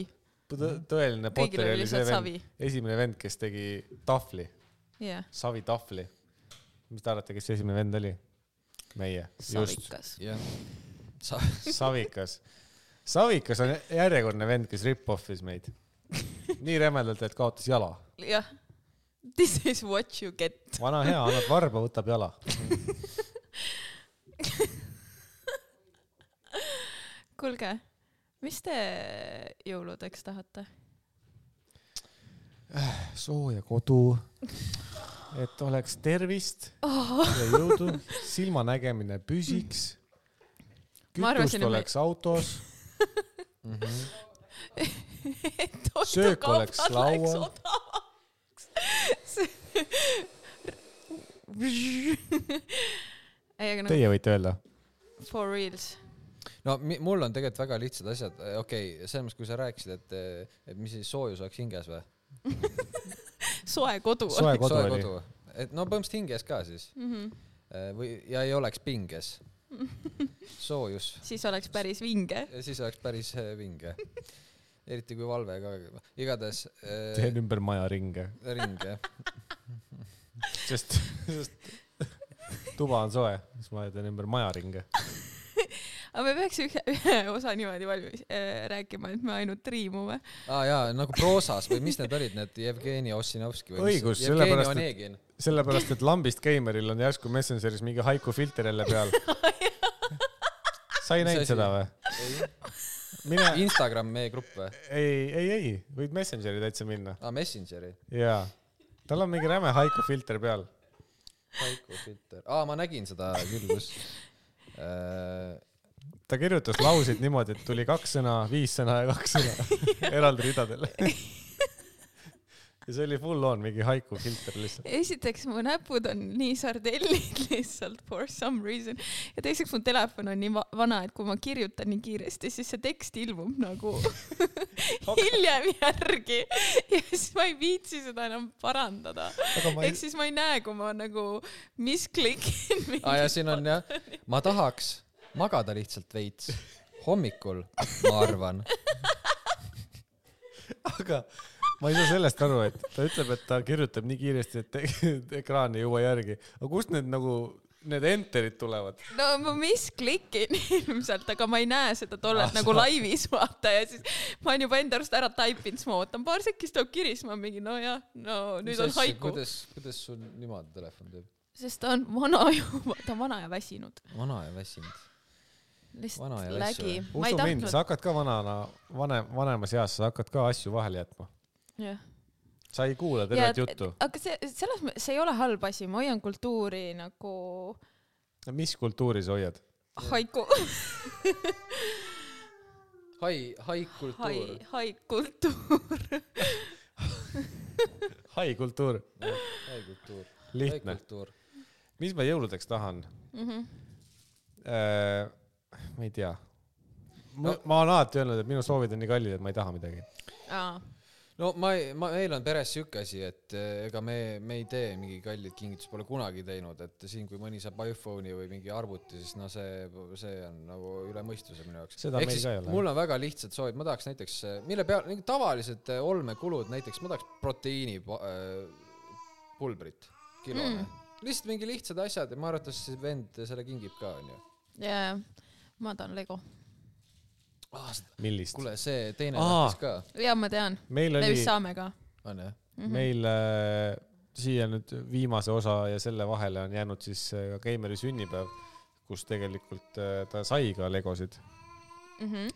A: tõ- tõeline
C: Mhm. kõigil
A: Potter
C: oli
A: oli see
C: lihtsalt
A: vend ,
C: savi .
A: esimene vend , kes tegi tahvli
C: jah .
A: Savi Tahvli . mis te arvate , kes esimene vend oli ? meie , just ,
C: savikas .
B: jah , sa- ,
A: Savikas . Savikas on järjekordne vend , kes rip-off'is meid . nii rämedalt , et kaotas jala .
C: jah . This is what you get .
A: vana hea , annad varba , võtab jala .
C: kuulge , mis te jõuludeks tahate ?
A: sooja kodu , et oleks tervist
C: Oh,
A: ja jõudu , silmanägemine püsiks .
C: Ma arvasin,
A: kütust
C: et me-
A: oleks autos ,
B: Mhm.
C: et osta
A: Söök oleks
C: kaubad
A: laual.
C: läks odavamaks. See- ei , aga noh ,
A: teie võite öelda .
C: for reals .
B: no mi- mul on tegelikult väga lihtsad asjad , okei okay, , selles mõttes , kui sa rääkisid , et , et mis siis soojus oleks hinges või ?
C: soe kodu .
A: soe kodu
B: soe
A: oli .
B: kodu , et no põhimõtteliselt hinges ka siis .
C: Mhm.
B: Eh, või , ja ei oleks pinges . soojus ,
C: siis oleks päris vinge .
B: siis oleks päris eh, vinge . eriti kui valve ka , igatahes eh,
A: teen ümber maja ringi ,
B: ring jah .
A: sest , sest tuba on soe , siis ma teen ümber maja ringi .
C: aga me peaks ühe, ühe osa niimoodi valmis äh, rääkima , et me ainult riimume .
B: aa jaa , nagu proosas või mis need olid , need Jevgeni Ossinovski või
A: Õigus,
B: mis ? Jevgeni
A: sellepärast, et-
B: Onegin .
A: sellepärast , et lambist geimeril on järsku Messengeris mingi haiku filter jälle peal . sa ei
B: Mis
A: näinud
B: asi?
A: seda või ? mine ,
B: Instagram meie grupp või ?
A: ei , ei , ei , võid Messengeri täitsa minna
B: aa , Messengeri .
A: jaa . tal on mingi räme haiku filter peal .
B: Haiku filter . aa , Ah, ma nägin seda küll , kus eh,
A: ta kirjutas lauseid niimoodi , et tuli kaks sõna , viis sõna ja kaks sõna eraldi ridadel . ja see oli full on mingi haiku filter lihtsalt .
C: esiteks mu näpud on nii sardellid lihtsalt for some reason ja teiseks mu telefon on nii va vana , et kui ma kirjutan nii kiiresti , siis see tekst ilmub nagu hiljem järgi ja siis ma ei viitsi seda enam parandada .
A: aga ma
C: ehk
A: ei ,
C: siis ma ei näe , kui ma nagu misklikin
B: aa ja
C: mingit
B: siin on jah , ma tahaks magada lihtsalt veits hommikul , ma arvan .
A: aga ma ei saa sellest aru , et ta ütleb , et ta kirjutab nii kiiresti , et te- ekraan ei jõua järgi . aga kust need nagu , need enter'id tulevad ?
C: no ma misklikin ilmselt , aga ma ei näe seda
A: Ah,
C: tollelt nagu laivis vaata ja siis ma olen juba enda arust ära taipinud , siis ma ootan paar sekki , siis tuleb kiri , siis ma mingi nojah , no nüüd on haiku .
B: kuidas , kuidas sul niimoodi telefon teeb ?
C: sest ta on vana juba , ta on vana ja väsinud .
B: vana ja väsinud . Vana
C: lihtsalt
B: ja
C: lägi
B: väsinud. .
C: ma ei
A: usu mind ,
C: tahtnud ,
A: sa hakkad ka vanana , vanem , vanemas eas , sa hakkad ka asju vahele jätma .
C: jah .
A: sa ei kuula tervet
C: Ja-
A: juttu .
C: aga see , selles mõttes , see ei ole halb asi , ma hoian kultuuri nagu
A: mis kultuuri sa hoiad ?
C: haiku ,
B: hai , hai
C: hai
B: kultuur .,
C: haikultuur .
A: hai kultuur ,
B: hai kultuur . hai
A: lihtne .
B: kultuur .
A: mis ma jõuludeks tahan ?
C: Mhm.
A: ma ei tea . ma
B: No-
A: ma olen alati öelnud , et minu soovid on nii kallid , et ma ei taha midagi .
B: no ma , ma , meil on peres siuke asi , et eh, ega me , me ei tee mingi kallit kingitust , pole kunagi teinud , et siin , kui mõni saab iPhone'i või mingi arvuti , siis no see , see on nagu üle mõistuse minu jaoks .
A: Seda meil ka ei ole.
B: mul on väga lihtsad soovid , ma tahaks näiteks , mille peal , nagu tavalised eh, olmekulud , näiteks ma tahaks proteiinipulbrit , kilone mm. . lihtsalt mingi lihtsad asjad ja ma arvan , et see vend selle kingib ka , onju .
C: jaa , ma tahan Lego .
A: millist ?
B: kuule , see teine
A: Aa.
B: tahtis ka ,
C: jaa , ma tean ,
A: meil
C: me
A: oli ,
C: vist saame ka . Mhm.
B: on ju ?
A: meil äh, siia nüüd viimase osa ja selle vahele on jäänud siis äh, ka Keimeri sünnipäev , kus tegelikult äh, ta sai ka legosid ,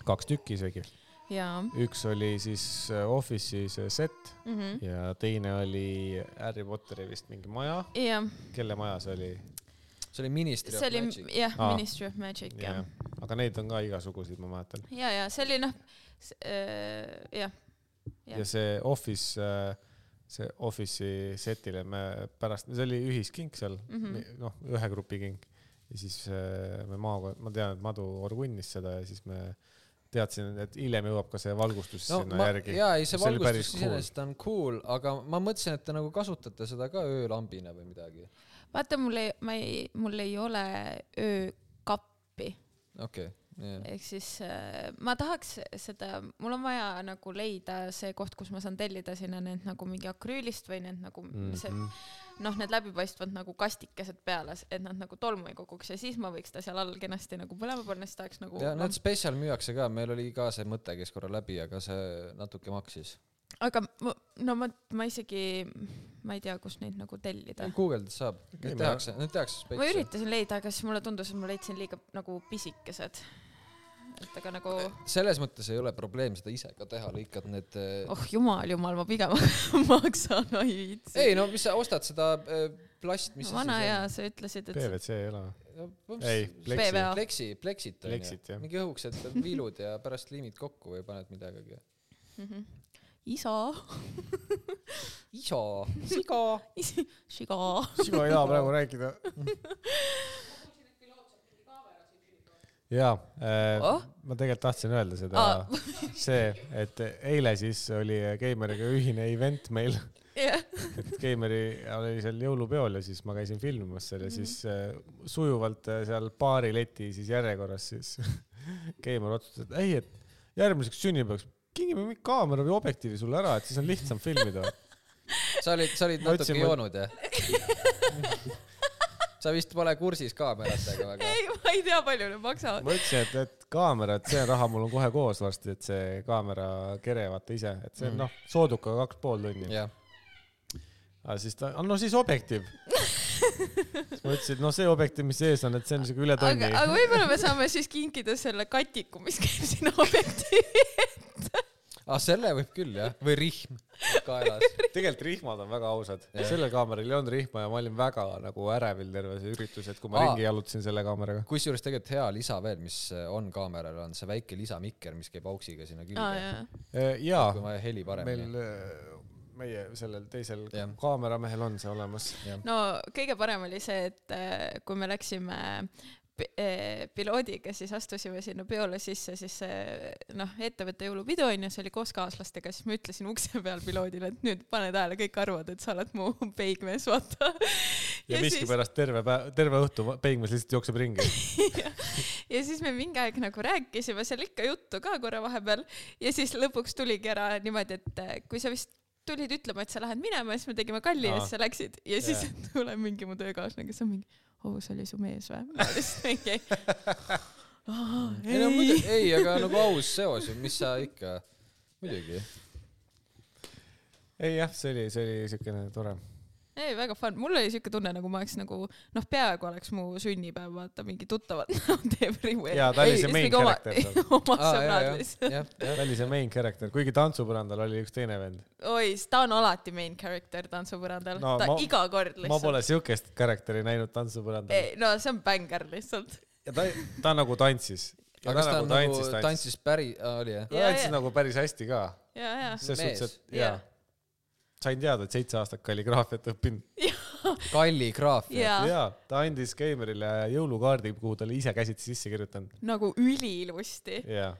A: kaks tükki isegi .
C: Mhm. jaa ,
A: üks oli siis äh, Office'i see set
C: mhm.
A: ja teine oli Harry Potteri vist mingi maja ,
C: jah ,
A: kelle maja see oli ?
B: see oli ministri
C: see oli jah
A: Aa. ,
C: Ministry of Magic jah .
A: aga neid on ka igasuguseid , ma mäletan .
C: ja , ja see oli noh , jah , Jah.
A: ja see Office , see Office'i setile me pärast , see oli ühiskink seal mm
C: Mhm.
A: -hmm. , noh , ühe grupi kink . ja siis äh, me maakond , ma tean , et Madu orgunnis seda ja siis me teadsin , et hiljem jõuab ka see valgustus no, sinna ma, järgi .
B: jaa , ei see
A: See oli
B: valgustus
A: päris cool.
B: iseenesest on cool , aga ma mõtlesin , et te nagu kasutate seda ka öölambina või midagi .
C: vaata mul ei , ma ei , mul ei ole öökappi ,
B: okei okay, ,
C: ehk siis äh, ma tahaks seda , mul on vaja nagu leida see koht , kus ma saan tellida sinna need nagu mingi akrüülist või need nagu mm
A: Mhm.
C: -hmm. see noh , need läbipaistvad nagu kastikesed peale , et nad nagu tolmu ei kukuks ja siis ma võiks ta seal all kenasti nagu põlema panna , siis tahaks nagu
B: ja nad spetsial müüakse ka , meil oli ka see mõte käis korra läbi , aga see natuke maksis .
C: aga ma, no ma , ma isegi , ma ei tea , kust neid nagu tellida .
B: guugeldada saab ,
A: Ei,
B: need
A: ma-
B: tehakse , need tehakse
C: ma
B: spetsial .
C: üritasin leida , aga siis mulle tundus , et ma leidsin liiga nagu pisikesed . et aga nagu ,
B: selles mõttes ei ole probleem seda ise ka teha , lõikad need oh.
C: oh jumal , jumal , ma pigem maksan , ma ei viitsi .
B: ei no mis sa ostad seda eh, plast , mis
C: vana hea , sa ütlesid , et see-
A: PVC ei ole või ? ei
B: ei ,,
A: pleksi
C: PVA. .
B: pleksi , pleksit on
A: Pleksit,
B: ju
A: jah. .
B: mingi õhukesed viilud ja pärast liimid kokku või paned midagagi .
C: Mhm. isa ,
B: isa , siga
C: siga .
A: sinu ei taha praegu rääkida . jaa
C: Oh.
A: äh, , ma tegelikult tahtsin öelda seda
C: Aa.
A: ah. , see , et eile siis oli Keimeriga ühine event meil
C: jah ,
A: et Keimeri oli seal jõulupeol ja siis ma käisin filmimas seal ja siis äh, sujuvalt äh, seal paari leti siis järjekorras siis Keimer otsustas , et ei , et järgmiseks sünnipäevaks kingime mingi kaamera või objektiivi sulle ära , et siis on lihtsam filmida .
B: sa olid , sa olid
A: Ma
B: natuke
A: ütlesin, ma-
B: joonud jah ? sa vist pole kursis kaameratega väga .
C: ei , ma ei tea , palju need maksavad .
A: ma ütlesin , et , et kaamera , et see raha mul on kohe koos varsti , et see kaamera kere vaata ise , et see on noh , soodukaga kaks pool tundi .
B: jah ,
A: aga siis ta , no siis objektiiv . siis ma ütlesin , et noh , see objektiiv , mis ees on , et see on siuke üle
C: aga ,
A: tonni .
C: aga võib-olla me saame siis kinkida selle katiku , mis käib sinna objektiivi .
B: ah, , selle võib küll jah , või rihm kaelas .
A: tegelikult rihmad on väga ausad . sellel kaameral ei olnud rihma ja ma olin väga nagu ärevil terve see üritus , et kui ma
B: Aa.
A: Aa. ringi jalutasin selle kaameraga .
B: kusjuures tegelikult hea lisa veel , mis äh, on kaameral , on see väike lisamikker , mis käib auksiga sinna külge .
A: jaa ,
B: kui on vaja heli paremini .
A: Ah, meil , meie sellel teisel
B: Jah.
A: kaameramehel on see olemas .
C: no kõige parem oli see , et äh, kui me läksime pi- eh, piloodiga , siis astusime sinna peole sisse , siis see noh , ettevõtte jõulupidu onju , see oli koos kaaslastega , siis ma ütlesin ukse peal piloodile , et nüüd pane tähele , kõik arvavad , et sa oled mu peigmees , vaata .
A: ja miskipärast terve päev , terve õhtu va- peigmees lihtsalt jookseb ringi .
C: ja siis me mingi aeg nagu rääkisime seal ikka juttu ka korra vahepeal ja siis lõpuks tuligi ära niimoodi , et äh, kui sa vist tulid ütlema , et sa lähed minema , siis me tegime kalli ja
A: Aa.
C: siis sa läksid ja siis
A: Jaa.
C: tuleb mingi mu töökaaslane , kes on mingi , oo , see oli su mees või ? ma lihtsalt mingi ,
B: ei no muidu , ei , aga nagu aus seos ju , mis sa ikka , muidugi .
A: ei jah , see oli , see oli siukene tore .
C: ei , väga fun , mul oli siuke tunne , nagu ma oleks nagu noh , peaaegu oleks mu sünnipäev , vaata mingi tuttavad näod everywhere .
A: jaa , ta oli see main
C: oma ,
A: character seal .
B: Aa,
C: oma
B: jaa,
C: sõbrad
B: jaa.
C: lihtsalt .
B: jah , jah .
A: ta oli see main character , kuigi tantsupõrandal oli üks teine vend .
C: oi , ta on alati main character tantsupõrandal
A: No
C: no, , ta
A: ma-
C: ma, iga kord
A: ma
C: lihtsalt .
A: pole siukest character'i näinud tantsupõrandal .
C: ei , no see on bängar lihtsalt .
A: ja ta , ta nagu tantsis .
B: aga kas ta on nagu tantsis päri , oli jah ?
A: ta
C: Jaa,
A: tantsis
C: jaa.
A: nagu päris hästi ka .
C: ja , ja ,
A: selles
B: Mees.
A: suhtes , et
C: Jaa.
A: jaa . sain teada , et seitse aastat kalligraafiat õppinud .
B: kalligraafia .
C: ja, ja.
A: jaa , ta andis Keimerile jõulukaardi , kuhu ta oli ise käsitsi sisse kirjutanud .
C: nagu üliilusti .
A: jaa .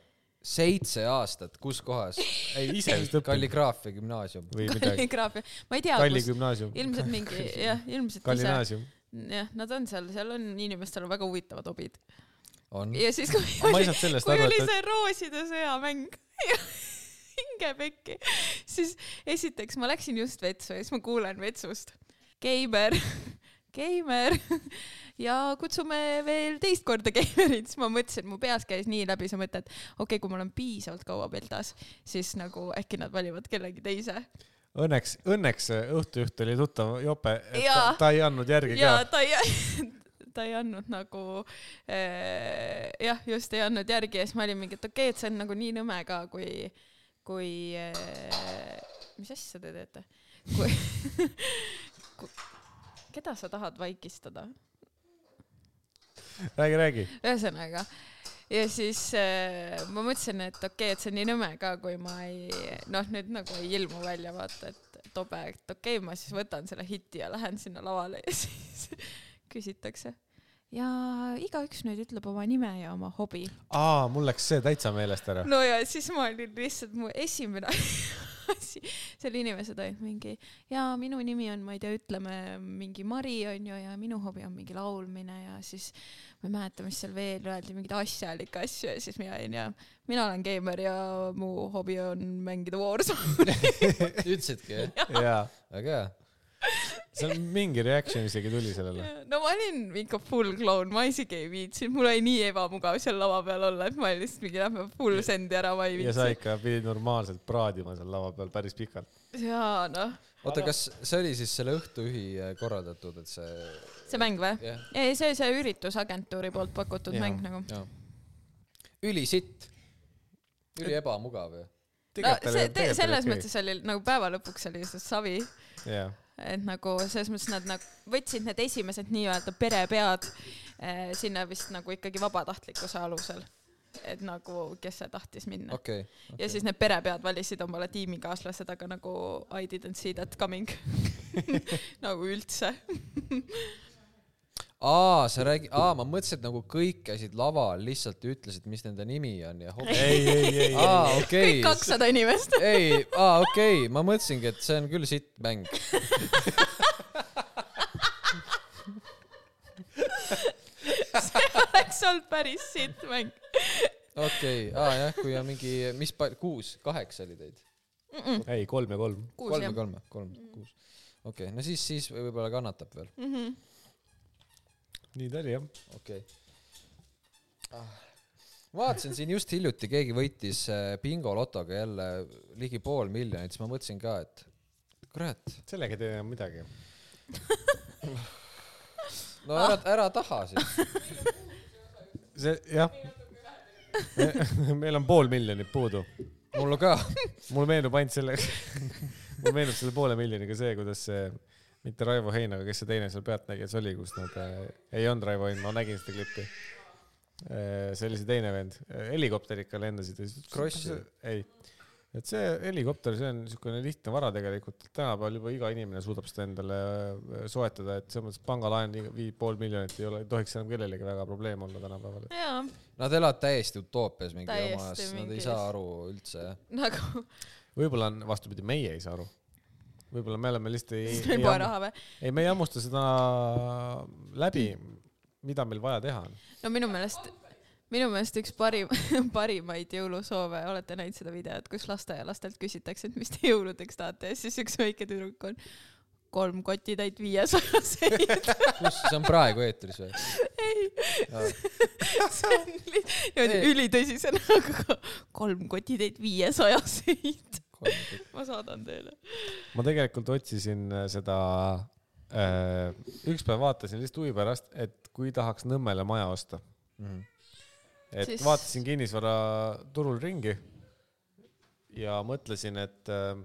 B: seitse aastat , kus kohas ?
A: ei , ise vist õppinud .
B: kalligraafia gümnaasium .
A: või midagi .
C: kalligraafia , ma ei tea ,
A: Kalli
C: kus ,
A: gümnaasium .
C: ilmselt mingi jah , ilmselt ise ,
A: Kallinaasium .
C: jah , nad on seal , seal on inimestel on väga huvitavad hobid .
B: on .
C: ja siis , kui
A: ma ei
C: oli ,
A: saanud sellest
C: kui
A: aru ,
C: oli
A: et
C: see rooside sõjamäng ja hinge pekki , siis esiteks ma läksin just vetsu ja siis ma kuulen vetsust . Keimer , Keimer ja kutsume veel teist korda Keimerit , siis ma mõtlesin , mu peas käis nii läbi see mõte , et okei okay, , kui ma olen piisavalt kaua peltas , siis nagu äkki nad valivad kellegi teise .
A: õnneks , õnneks õhtujuht oli tuttav jope , et ta,
C: Jaa.
A: ta ei andnud järgi ka
C: ja . ta ei , ta ei andnud nagu äh, jah , just ei andnud järgi ja siis ma olin mingi , et okei okay, , et see on nagu nii nõme ka , kui , kui äh, , mis asja te teete , kui, kui , keda sa tahad vaikistada ,
A: räägi , räägi .
C: ühesõnaga ja siis äh, ma mõtlesin , et okei okay, , et see on nii nõme ka , kui ma ei noh , nüüd nagu ei ilmu välja vaata , et tobe , et okei okay, , ma siis võtan selle hiti ja lähen sinna lavale ja siis küsitakse . ja igaüks nüüd ütleb oma nime ja oma hobi .
A: aa , mul läks see täitsa meelest ära .
C: no ja siis ma olin lihtsalt mu esimene asi , seal inimesed olid mingi ja minu nimi on , ma ei tea , ütleme mingi Mari onju ja minu hobi on mingi laulmine ja siis ma ei mäleta , mis seal veel öeldi , mingeid asjalikke asju ja siis mina olin ja mina olen geimer ja mu hobi on mängida Warzone'i .
B: ütlesidki jah ?
A: jaa ,
B: väga hea .
A: seal mingi reaction isegi tuli sellele .
C: no ma olin ikka full kloun , ma isegi ei viitsinud , mul oli nii ebamugav seal lava peal olla , et ma olin lihtsalt mingi lähme full sendi ära , ma ei
A: ja sa
C: viitsi .
A: ikka pidid normaalselt praadima seal lava peal päris pikalt .
C: jaa noh ,
B: oota , kas see oli siis selle Õhtuühi äh, korraldatud , et see ,
C: see mäng või ?
B: jah ,
C: ei , see , see üritusagentuuri poolt pakutud
A: Jaa.
C: mäng nagu .
B: jah . ülisitt . üli ebamugav ju .
C: no see , selles . mõttes oli nagu päeva lõpuks oli see savi ,
A: jaa ,
C: et nagu selles mõttes nad nagu võtsid need esimesed nii-öelda perepead eh, sinna vist nagu ikkagi vabatahtlikkuse alusel . et nagu , kes see tahtis minna okay, .
B: okei .
C: ja siis need perepead valisid omale tiimikaaslased , aga nagu I didn't see that coming . nagu üldse .
B: aa , sa räägi- , aa , ma mõtlesin , et nagu kõik käisid laval , lihtsalt ütlesid , mis nende nimi on ja hobi .
A: ei , ei , ei , ei ,
B: aa ,
C: kõik
B: okei .
C: kakssada inimest .
B: ei , aa , okei okay. , ma mõtlesingi , et see on küll sitt mäng .
C: see oleks olnud päris sitt mäng
B: okei okay. , aa jah , kui on mingi , mis pal- , kuus , kaheksa oli teid ?
C: mm . -mm.
A: ei , kolm ja kolm .
C: kuus
B: kolm
C: jah
B: ja . kolm , kolm , kuus . okei okay. , no siis , siis võib- võib-olla kannatab veel ,
C: Mm -hmm.
A: nii ta oli jah .
B: okei okay. . vaatasin siin just hiljuti , keegi võitis äh, bingolotoga jälle ligi pool miljonit , siis ma mõtlesin ka , et kurat ,
A: sellega ei tee enam midagi .
B: no ära ,
C: Ah.
B: ära taha siis .
A: see , jah . meil on pool miljonit puudu .
B: mul ka .
A: mul meenub ainult selle , mul meenub selle poole miljoniga see , kuidas see , mitte Raivo Hein , aga kes see teine seal Pealtnägijas oli , kus nad , ei olnud Raivo Hein , ma nägin seda klippi . see oli see teine vend , helikopteriga lendasid .
B: Krossi.
A: ei , et see helikopter , see on niisugune lihtne vara tegelikult , tänapäeval juba iga inimene suudab seda endale äh, soetada , et selles mõttes pangalaen iga- vii- pool miljonit ei ole , ei tohiks enam kellelegi väga probleem olla tänapäeval .
C: jaa ,
B: Nad elavad täiesti utoopias mingi
C: Täiesti
B: omas , nad ei
C: mingis-
B: saa aru üldse jah .
C: nagu
A: võib-olla on vastupidi , meie ei saa aru . võib-olla me oleme lihtsalt ei,
C: siis
A: ei,
C: me
A: ei
C: poe raha või ?
A: ei , me ei hammusta seda läbi , mida meil vaja teha on .
C: no minu meelest , minu meelest üks parim , parimaid jõulusoove , olete näinud seda videot , kus lasteaialastelt küsitakse , et mis te jõuludeks tahate ja siis üks väike tüdruk on kolm kotitäit viiesajaseid .
B: kus , see on praegu eetris või ?
C: ei ,
B: Jaa.
C: see on lihtsalt
B: Ei.
C: ülitõsise näoga , kolm kotitäit viiesajaseid .
B: kolm tükki .
C: ma saadan teile .
A: ma tegelikult otsisin äh, seda äh, üks päev vaatasin lihtsalt huvi pärast , et kui tahaks Nõmmele maja osta ,
B: mm. .
A: et
C: Siis-
A: siis... vaatasin kinnisvaraturul ringi ja mõtlesin , et äh,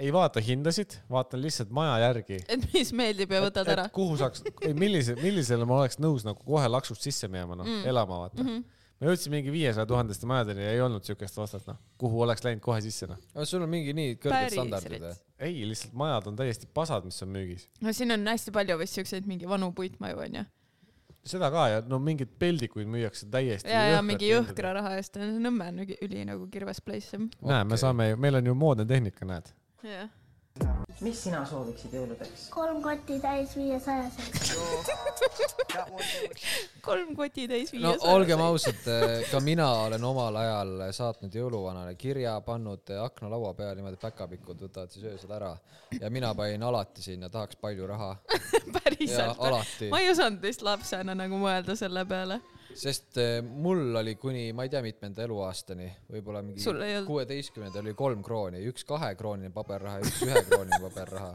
A: ei vaata hindasid , vaatan lihtsalt maja järgi .
C: et mis meeldib ja võtad ära .
A: kuhu saaks , ei millise , millisele ma oleks nõus nagu kohe laksust sisse minema , noh mm. , elama vaata mm .
C: Mhm.
A: -hmm. me jõudsime mingi viiesaja tuhandeste majadeni ja ei olnud siukest vastat , noh , kuhu oleks läinud kohe sisse , noh .
B: aga sul on mingi nii kõrged standardid või ?
A: ei , lihtsalt majad on täiesti pasad , mis on müügis .
C: no siin on hästi palju vist siukseid mingi vanu puitmaju onju .
A: seda ka ja no mingeid peldikuid müüakse täiesti .
C: ja , ja mingi jõhkra . raha eest . Nõmme on üli, üli nagu kirves place .
A: näe , me
B: Okei.
A: saame , meil on ju moodne tehnika , näed .
C: jah .
D: mis sina sooviksid jõuludeks ?
E: kolm kotti täis viiesajaseid .
C: kolm koti täis
B: no
C: viies .
B: olgem . ausad , ka mina olen omal ajal saatnud jõuluvanale kirja , pannud äh, aknalaua peal niimoodi , et päkapikud võtavad siis öösel ära ja mina panin alati sinna , tahaks palju raha ja
C: päriselt .
B: alati ,
C: ma ei osanud vist lapsena nagu mõelda selle peale .
B: sest eh, mul oli kuni ma ei tea mitmenda eluaastani , võib-olla mingi
C: Sul ei olnud-
B: kuueteistkümnendal oli kolm krooni , üks kahekroonine paberraha , üks ühekroonine paberraha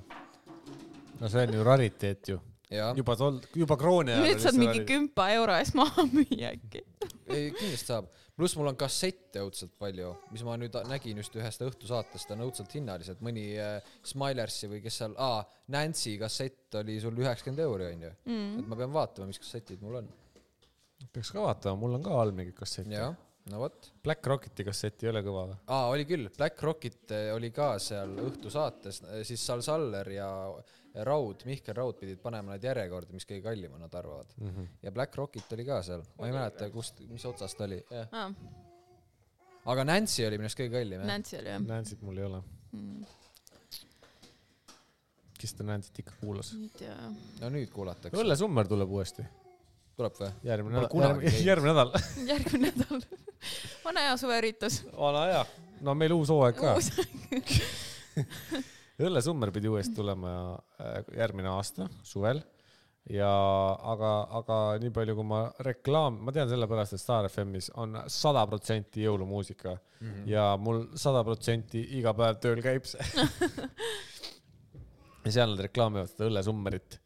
A: no see on ju rariteet ju .
B: ja
A: juba tol , juba krooni ajal .
C: nüüd saad mingi . kümpa euro eest maha müüa äkki .
B: ei kindlasti saab , pluss mul on kassette õudselt palju , mis ma nüüd nägin just ühest õhtusaatest , on õudselt hinnalised , mõni äh, Smilersi või kes seal , aa , Nancy kassett oli sul üheksakümmend euri onju mm. , et ma pean vaatama , mis kassetid mul on .
A: peaks ka vaatama , mul on ka all mingi kassett .
B: jah , no vot ,
A: Black Rocketi kassett ei ole kõva või ?
B: aa oli küll , Black Rockit äh, oli ka seal õhtusaates , siis Sal Saller ja Raud , Mihkel Raud pidid panema need järjekorda , mis kõige kallim on , nad arvavad mm . -hmm. ja Black Rockit oli ka seal , ma ei mäleta , kust , mis otsast oli , jah . aga Nancy oli minu arust kõige kallim jah .
C: Nancy oli jah ?
A: Nancy't mul ei ole . kes ta Nancy't ikka kuulas ?
C: ei tea .
B: no nüüd kuulatakse .
A: Õlle Summer tuleb uuesti .
B: tuleb või ?
A: järgmine
B: Pole kunagi
A: nädal ,
B: käinud.
A: järgmine nädal .
C: järgmine nädal . vana hea suveüritus .
A: vana hea . no meil uus hooaeg ka .
C: uus
A: Õlle Summer pidi uuesti tulema äh, järgmine aasta suvel ja aga , aga nii palju , kui ma reklaam , ma tean sellepärast , et Star FM-is on sada protsenti jõulumuusika mm
B: Mhm.
A: -hmm. ja mul sada protsenti iga päev tööl käib see . ja seal nad reklaamivad seda Õlle Summerit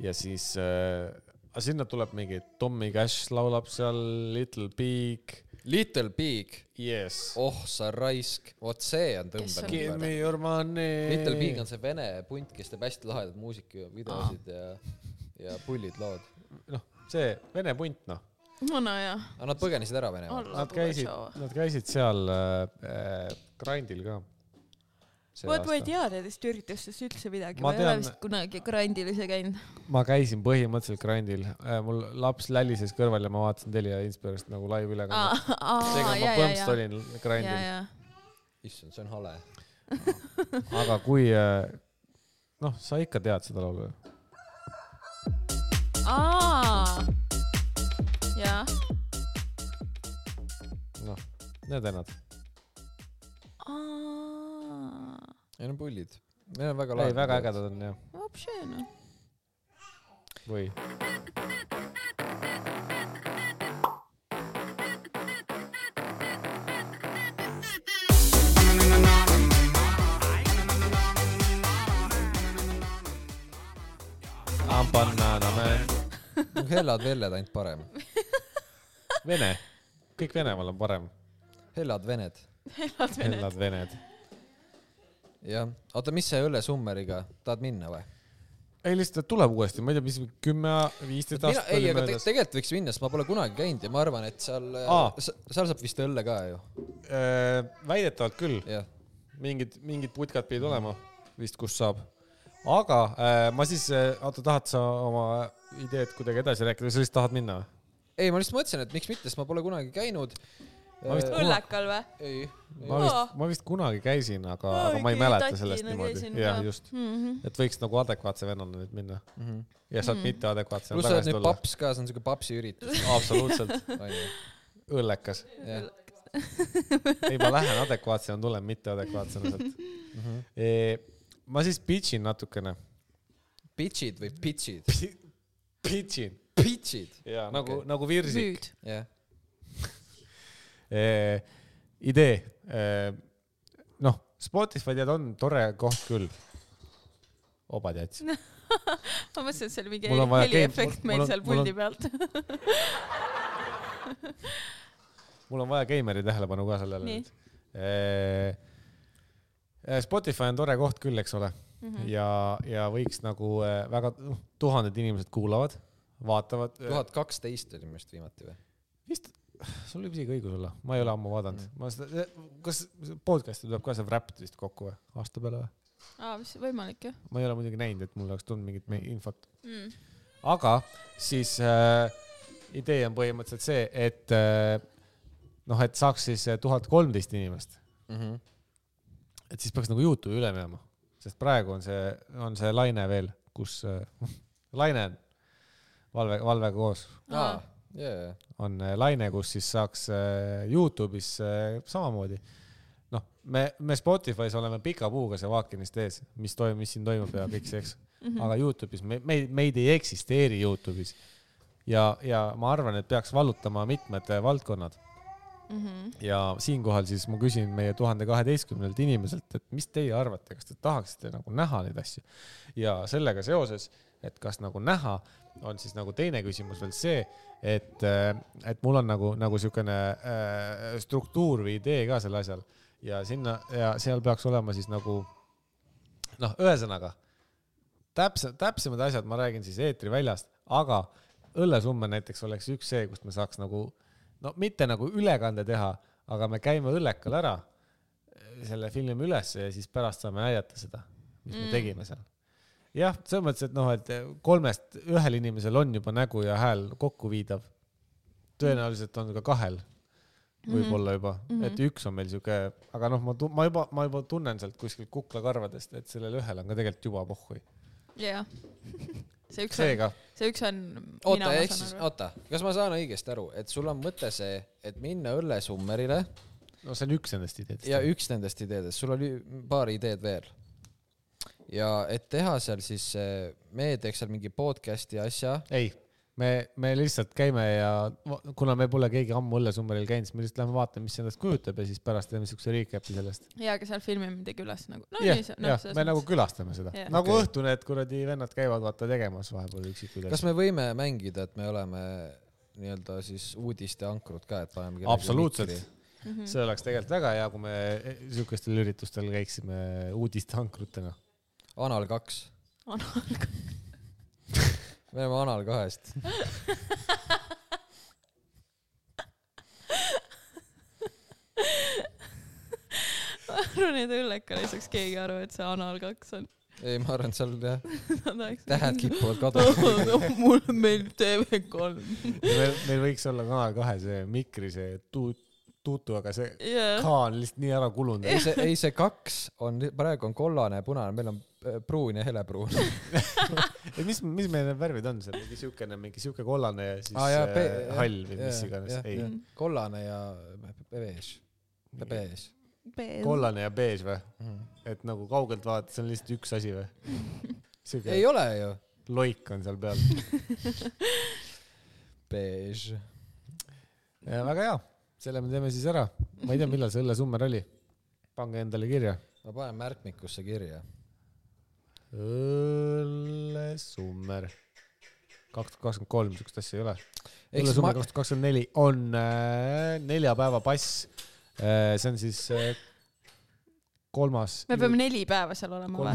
A: ja siis äh, , sinna tuleb mingi Tommy Cash laulab seal , Little Big ,
B: Little Big ,
A: Yes oh, ,
B: oh sa raisk , vot see on
C: Kes on?
A: Give
B: tõmbenumber .
A: me your money .
B: Little Big on see vene punt , kes teeb hästi lahedaid muusikavideosid ja , ja pullid lood .
A: noh , see vene punt noh
C: vana hea .
B: aga nad põgenesid ära Venemaalt .
A: Nad käisid , nad käisid seal äh, äh, Grandil ka .
C: vot ma ei tea nendest üritustest üldse midagi ,
A: Ma
C: ma ei ole
A: tean-
C: vist kunagi Grandil ise käinud .
A: ma käisin põhimõtteliselt Grandil äh, , mul laps lälises kõrval ja ma vaatasin Telia Inspirist nagu laivülekannet . seega ma põmps olin Grandil ,
B: issand , see on hale .
A: aga kui äh, noh , sa ikka tead seda laulu ju .
C: aa , jah ,
A: noh , need vennad .
C: aa ,
B: Neil on pullid . Neil on väga
A: ei , väga
B: lahe .
A: ägedad on jah .
C: vapše noh .
A: või ?
B: hellad velled ainult parem .
A: Vene , kõik Venemaal on parem .
B: hellad vened .
A: hellad vened .
B: jah , oota , mis see Õlle Summeriga , tahad minna või ?
A: ei lihtsalt ta tuleb uuesti , ma ei tea , mis kümme , viisteist
B: mina ,
A: aastat
B: ei ,
A: oli
B: aga te,
A: möödas .
B: tegelikult võiks minna , sest ma pole kunagi käinud ja ma arvan , et seal ,
A: Aa.
B: seal saab vist õlle ka ju .
A: Äh, väidetavalt küll ,
B: jah ,
A: mingid , mingid putkad pidid olema vist , kus saab . aga äh, ma siis , oota , tahad sa oma ideed kuidagi edasi rääkida või sa lihtsalt tahad minna ?
B: ei , ma lihtsalt mõtlesin , et miks mitte , sest ma pole kunagi käinud . Äh,
A: Ma vist-
C: õllekal või ?
B: ei ,
A: ma vist
C: Aa. ,
A: ma vist kunagi käisin , aga ,
C: Ma
A: aga ma ei
C: mingi
A: mäleta
C: tatina
A: sellest niimoodi
C: käisin .
A: jah
C: ka. ,
A: just .
C: Mhm.
A: et võiks nagu adekvaatse vennana nüüd minna mm . -hmm. ja saad mm -hmm. mitteadekvaatsena
B: pluss sa oled
A: tagasi
B: nüüd
A: tulla .
B: paps ka , see on siuke papsi üritus ,
A: absoluutselt ,
B: onju .
A: õllekas .
B: jah ,
A: ei , ma lähen adekvaatsena , tulen mitteadekvaatsena sealt mm .
B: Mhm.
A: -hmm. ma siis pitch in natukene .
B: pitch'id või pitch'id ?
A: Pitch in .
B: Pitch'id ,
A: jaa , nagu okay. , nagu virsik .
C: müüd .
B: jah .
A: Eh, idee , eh, noh , Spotify tead on tore koht küll , obad jätsid .
C: ma mõtlesin , et see oli mingi
A: Mul on vaja
C: heliefekt
A: game- mul-
C: meil
A: mul on-
C: seal
A: mul on-
C: puldi pealt .
A: mul on vaja geimeri tähelepanu ka sellele
C: Nii.
A: nüüd . Spotify on tore koht küll , eks ole , ja , ja võiks nagu eh, väga , noh , tuhanded inimesed kuulavad , vaatavad .
B: tuhat kaksteist oli minu arust viimati või ?
A: vist , sul võib isegi õigus olla , ma ei ole ammu vaadanud mm. , ma seda , kas see podcast'i tuleb ka see Wrapped vist kokku või , aasta peale või ?
C: aa , mis võimalik jah
A: ma ei ole muidugi näinud , et mul oleks tulnud mingit me- infot ,
C: mm. .
A: aga siis äh, idee on põhimõtteliselt see , et äh, noh , et saaks siis tuhat kolmteist inimest , Mhm. et siis peaks nagu Youtube'i üle minema , sest praegu on see , on see laine veel , kus äh, laine on Valve , Valvega koos
B: aa , jajah .
A: on äh, laine , kus siis saaks äh, Youtube'is äh, samamoodi . noh , me , me Spotify's oleme pika puuga see vaakinist ees , mis toimub , mis siin toimub ja kõik see , eks . aga Youtube'is me , me , meid ei eksisteeri Youtube'is . ja , ja ma arvan , et peaks vallutama mitmed äh, valdkonnad
C: Mm -hmm.
A: ja siinkohal siis ma küsin meie tuhande kaheteistkümnelt inimeselt , et mis teie arvate , kas te tahaksite nagu näha neid asju ja sellega seoses , et kas nagu näha , on siis nagu teine küsimus veel see , et , et mul on nagu , nagu siukene äh, struktuur või idee ka sel asjal ja sinna ja seal peaks olema siis nagu noh , ühesõnaga täpsem , täpsemad asjad ma räägin siis eetriväljast , aga õllesumme näiteks oleks üks see , kust me saaks nagu no mitte nagu ülekande teha , aga me käime õllekal ära , selle filmime ülesse ja siis pärast saame näidata seda , mis mm. me tegime seal . jah , selles mõttes , et noh , et kolmest ühel inimesel on juba nägu ja hääl kokku viidav . tõenäoliselt on ka kahel võib-olla juba mm , -hmm. et üks on meil sihuke , aga noh , ma , ma juba , ma juba tunnen sealt kuskilt kuklakarvadest , et sellel ühel on ka tegelikult juba pohhui .
C: jah , see üks on ,
A: seega
C: see üks on .
B: oota , ehk siis , oota , kas ma saan õigesti aru , et sul on mõte see , et minna õllesummerile
A: no see on üks nendest ideedest .
B: ja üks nendest ideedest , sul oli paar ideed veel . ja et teha seal siis , me teeks seal mingi podcast'i asja ,
A: ei , me , me lihtsalt käime ja va- kuna me pole keegi ammu Õllesummeril käinud , siis me lihtsalt lähme vaatame , mis see endast kujutab ja siis pärast teeme siukse recap'i sellest .
C: ja , aga seal filmime midagi üles nagu . no
A: jah
C: nii see ,, noh
A: jah , me nagu . külastame seda
C: Jah.
A: yeah. , nagu
B: Okei.
A: okay. õhtul need kuradi vennad käivad vaata tegemas vahepeal üksikuid
B: kas me võime mängida , et me oleme nii-öelda siis uudisteankrud ka , et paneme kellelegi
A: absoluutselt
B: mikri?
A: mm ,
C: Mhm.
A: -hmm. see oleks tegelikult väga hea , kui me eh, siukestel üritustel käiksime uudisteankrutena .
B: Anal kaks , me oleme Anal kahest .
C: ma arvan , et õllekal ei saaks keegi aru , et see anal kaks on .
B: ei , ma arvan , et seal jah , tähed . kipuvad kaduma .
C: Oh, mul , meil TV3 .
A: meil , meil võiks olla Kanal kahe see mikri see tu- , tuutu , aga see
C: jah ,
A: K on lihtsalt nii ära kulunud .
B: ei see , ei see kaks on , praegu on kollane ja punane , meil on äh, pruun ja helepruun .
A: ei , mis , mis meil need värvid on seal , mingi siukene , mingi siuke kollane ja siis
B: Aa,
A: ah,
B: jaa,
A: ja,
B: pe-
A: pe
B: jah,
A: hall või mis
B: jah,
A: iganes ,
B: jah,
A: ei
B: jah. . kollane ja beež , beež .
A: kollane ja beež või ? et nagu kaugelt vaadates on lihtsalt üks asi või ? siuke
B: ei ole ju .
A: loik on seal peal .
B: beež .
A: väga hea , selle me teeme siis ära . ma ei tea , millal see õllesummer oli . pange endale kirja .
B: ma panen märkmikusse kirja .
A: õllesummer . kaks tuhat kakskümmend kolm , siukest asja ei ole .
B: eks ma
A: õllesummer , kaks tuhat kakskümmend neli on äh, neljapäeva pass äh, . see on siis äh, kolmas .
C: me peame neli päeva seal olema või ?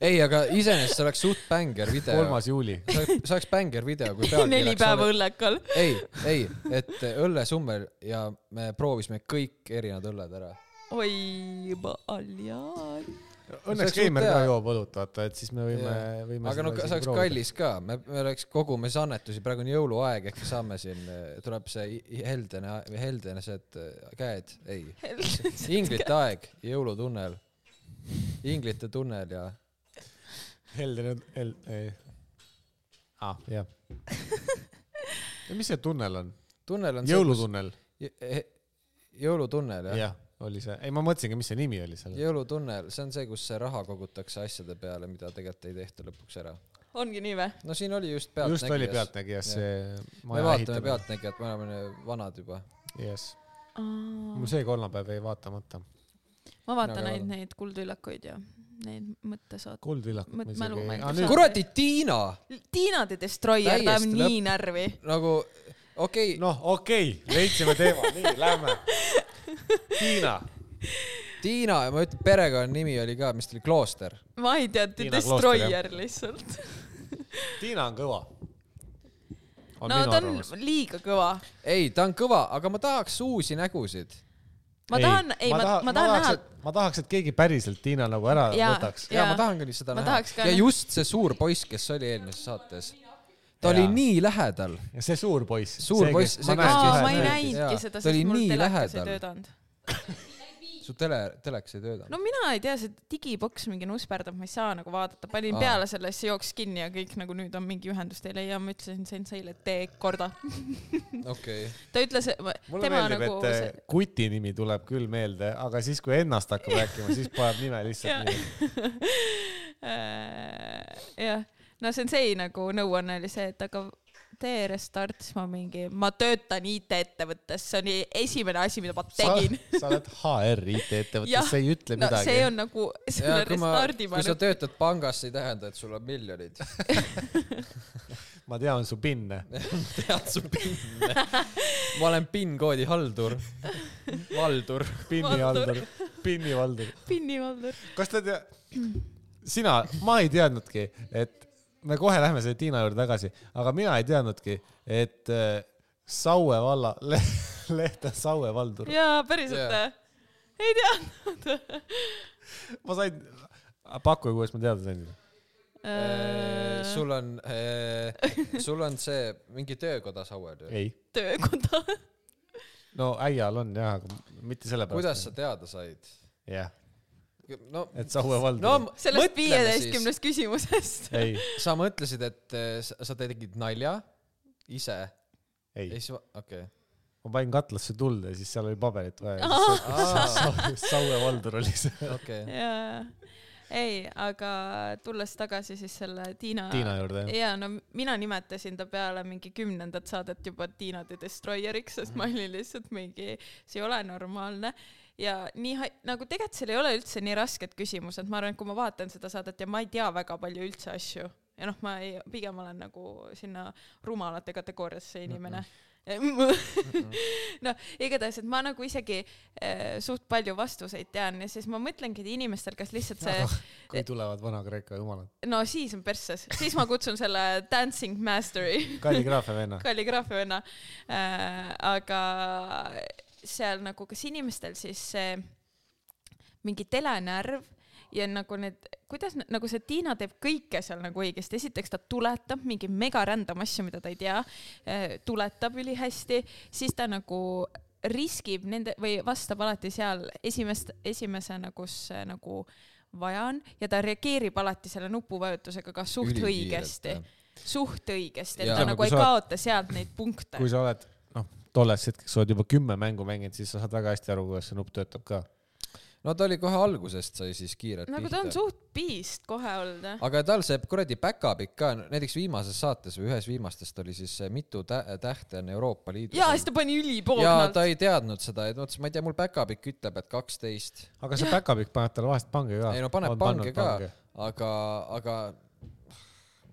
B: ei , aga iseenesest see oleks suht bängar video .
A: kolmas juuli .
B: see oleks bängar video , kui pealkirjaks
C: neli päeva õllekal .
B: ei , ei , et õllesummer ja me proovisime kõik erinevad õlled ära .
C: oi , paljad .
A: Õnneks
B: See oleks
A: Keimer
B: suht
A: ka
B: hea.
A: joob õlut , vaata , et siis me võime
B: Jaa. ,
A: võime .
B: aga noh , see oleks . kallis ka , me , me oleks , kogume siis annetusi , praegu on jõuluaeg , ehk saame siin , tuleb see i- i- heldene , heldene see , et äh, käed , ei , inglite aeg , jõulutunnel , inglite tunnel ja
A: heldene , hel- , ei .
B: Ah.
A: aa , jah . mis see tunnel on ?
B: tunnel on
A: jõulutunnel ?
B: see , kus , jõulutunnel jah ja. ,
A: jah , oli see , ei ma mõtlesingi , mis see nimi oli seal .
B: jõulutunnel , see on see , kus see raha kogutakse asjade peale , mida tegelikult ei tehta lõpuks ära .
C: ongi nii või ?
B: no siin oli just
A: just oli Pealtnägijas
B: pealtnägijas . Jah.
A: see .
B: me vaatame . Pealtnägijat , me oleme vanad juba .
A: jess ,
C: Ah.
A: mul see kolmapäev jäi vaatamata .
C: ma vaatan
B: Mina ka
C: ainult neid kuldüllakuid ja need mõttesaad .
A: kuldvillakud
C: Mõt-
A: ma
C: mälu ma ei
A: Aa, Ah,
C: tea.
A: nüüd-
B: kuradi Tiina
C: Tiina the Destroyer , ta on
B: Täiesti
C: nii närvi .
B: nagu okei okay, ,
A: noh , okei okay, , leidsime teema , nii , lähme . Tiina ,
B: Tiina , ma ütlen , perekonnanimi oli ka , mis ta oli , Klooster .
C: ma ei tea , The
A: Tiina
C: Destroyer lihtsalt .
A: Tiina on kõva . on
C: no
A: minu
C: ta on
A: arvamus .
C: liiga kõva .
B: ei , ta on kõva , aga ma tahaks uusi nägusid .
C: ma tahan , ei , ma , ma tahan näha ,.
A: ma tahaks , et keegi päriselt Tiina nagu ära
C: Jaa.
A: võtaks .
B: ja
C: Jaa.
B: ma tahan küll seda
C: Ma
B: näha
C: tahaks . ka
B: ja
C: näha.
B: just see suur poiss , kes oli eelmises saates . ta oli
A: Jaa.
B: nii lähedal .
A: ja see suur poiss .
B: Suur poiss, see, kes
C: aa ,
B: just
C: ma ei
B: näidis.
C: näinudki
B: Jaa.
C: seda ,
B: Ta oli
C: sest mul
B: nii
C: telekas ei
B: lähedal.
C: töötanud .
B: su tele , telekas ei tööta
C: no mina ei tea , see digiboks mingi nusperdab , ma ei saa nagu vaadata , panin
B: Aa.
C: aa. peale selle , siis jooksis kinni ja kõik nagu nüüd on mingi ühendust ei leia , ma ütlesin senseile , et tee korda .
B: no. . okei okay. ,
C: ta ütles ,
A: mulle
C: tema
A: meeldib ,
C: nagu
A: et see... kuti nimi tuleb küll meelde , aga siis , kui ennast hakkab rääkima , siis paneb nime
C: Jaa.
A: lihtsalt nii .
C: Äh, jah , no sensei nagu nõuanne oli see , et aga tee restart , siis ma mingi , ma töötan IT-ettevõttes , see oli esimene asi , mida ma
A: sa
C: tegin .
A: sa oled HR
C: Jah.
A: IT-ettevõttes , sa ei ütle
C: no
A: midagi
C: see . on nagu
B: ja
C: selle
B: kui ma ,
C: restardi ma
B: kui sa
C: nüüd ,
B: töötad pangas , see ei tähenda , et sul on miljonid .
A: ma tean su pinne .
B: tead su PIN-e . ma olen PIN-koodi haldur , valdur .
A: pinnihaldur , pinnivaldur .
C: pinnivaldur .
A: kas te tea , sina , ma ei teadnudki , et me kohe lähme selle Tiina juurde tagasi , aga mina ei teadnudki , et äh, Saue valla le, , leht on Saue valdur .
C: jaa , päriselt
B: Jaa.
C: yeah. ei teadnud
A: ma sain , Ah, paku , kuidas ma teada sain .
B: Äh,
C: Äh.
B: sul on , sul on see mingi töökoda Sauer ju .
A: ei ,
C: töökoda .
A: no äial on jah , aga mitte sellepärast .
B: kuidas sa ? teada said ?
A: jah ,
B: no ,
A: et Saue
B: no
A: valdur no, .
C: sellest
B: mõtleme siis.
C: viieteistkümnest küsimusest .
A: ei ,
B: sa mõtlesid , et eh, sa sa tegid nalja ise ja
A: ei ,
B: siis , okei .
A: ma panin katlasse tuld ja siis seal oli paberit vaja ja siis Saue- Saue valdur oli see .
B: okei ,
C: jaa , ei , aga tulles tagasi siis selle Tiina,
A: Tiina juurde jah .
C: jaa , no mina nimetasin ta peale mingi kümnendat saadet juba Tiina the Destroyeriks , sest ma olin lihtsalt mingi , see ei ole normaalne . ja nii ha- , nagu tegelikult seal ei ole üldse nii rasked küsimused , ma arvan , et kui ma vaatan seda saadet ja ma ei tea väga palju üldse asju ja noh , ma ei , pigem olen nagu sinna rumalate kategooriasse inimene . noh , igatahes , et ma nagu isegi eh, suht palju vastuseid tean ja siis ma mõtlengi , et inimestel , kes lihtsalt see
A: kui tulevad Vana-Kreeka jumalad .
C: no siis on persses , siis ma kutsun selle Dancing Mastery
A: kalligraafia venna .
C: kalligraafia venna äh, . aga seal nagu , kas inimestel siis see mingi telenärv ja nagu need , kuidas na- nagu see Tiina teeb kõike seal nagu õigesti , esiteks ta tuletab mingi mega random asju , mida ta ei tea äh, , tuletab ülihästi , siis ta nagu riskib nende või vastab alati seal esimest , esimesena , kus äh, nagu vaja on ja ta reageerig alati selle nupuvajutusega ka suht
B: Ülikiirelt,
C: õigesti
B: jah.
C: suht õigesti ,
B: Jaa.
C: et ta
A: Ütleme,
C: nagu
A: kui
C: ei
A: sa oled-
C: kaota sealt neid punkte
A: kui . sa oled , noh , tollest hetkest sa oled juba kümme mängu mänginud , siis sa saad väga hästi aru , kuidas see nupp töötab ka .
B: no ta oli kohe algusest sai siis kiirelt
C: nagu ta on
B: pihta .
C: suht piist kohe olnud jah .
B: aga tal see kuradi päkapikk ka , näiteks viimases saates või ühes viimastest oli siis see, mitu tä- tähte on Euroopa Liidus .
C: ja siis ta pani
B: ja
C: ülipoolt
B: ta . ei teadnud seda , et mõtles , ma ei tea , mul päkapikk ütleb , et kaksteist .
A: aga see päkapikk paneb talle vahest pange ka .
B: ei no paneb pange ka , aga , aga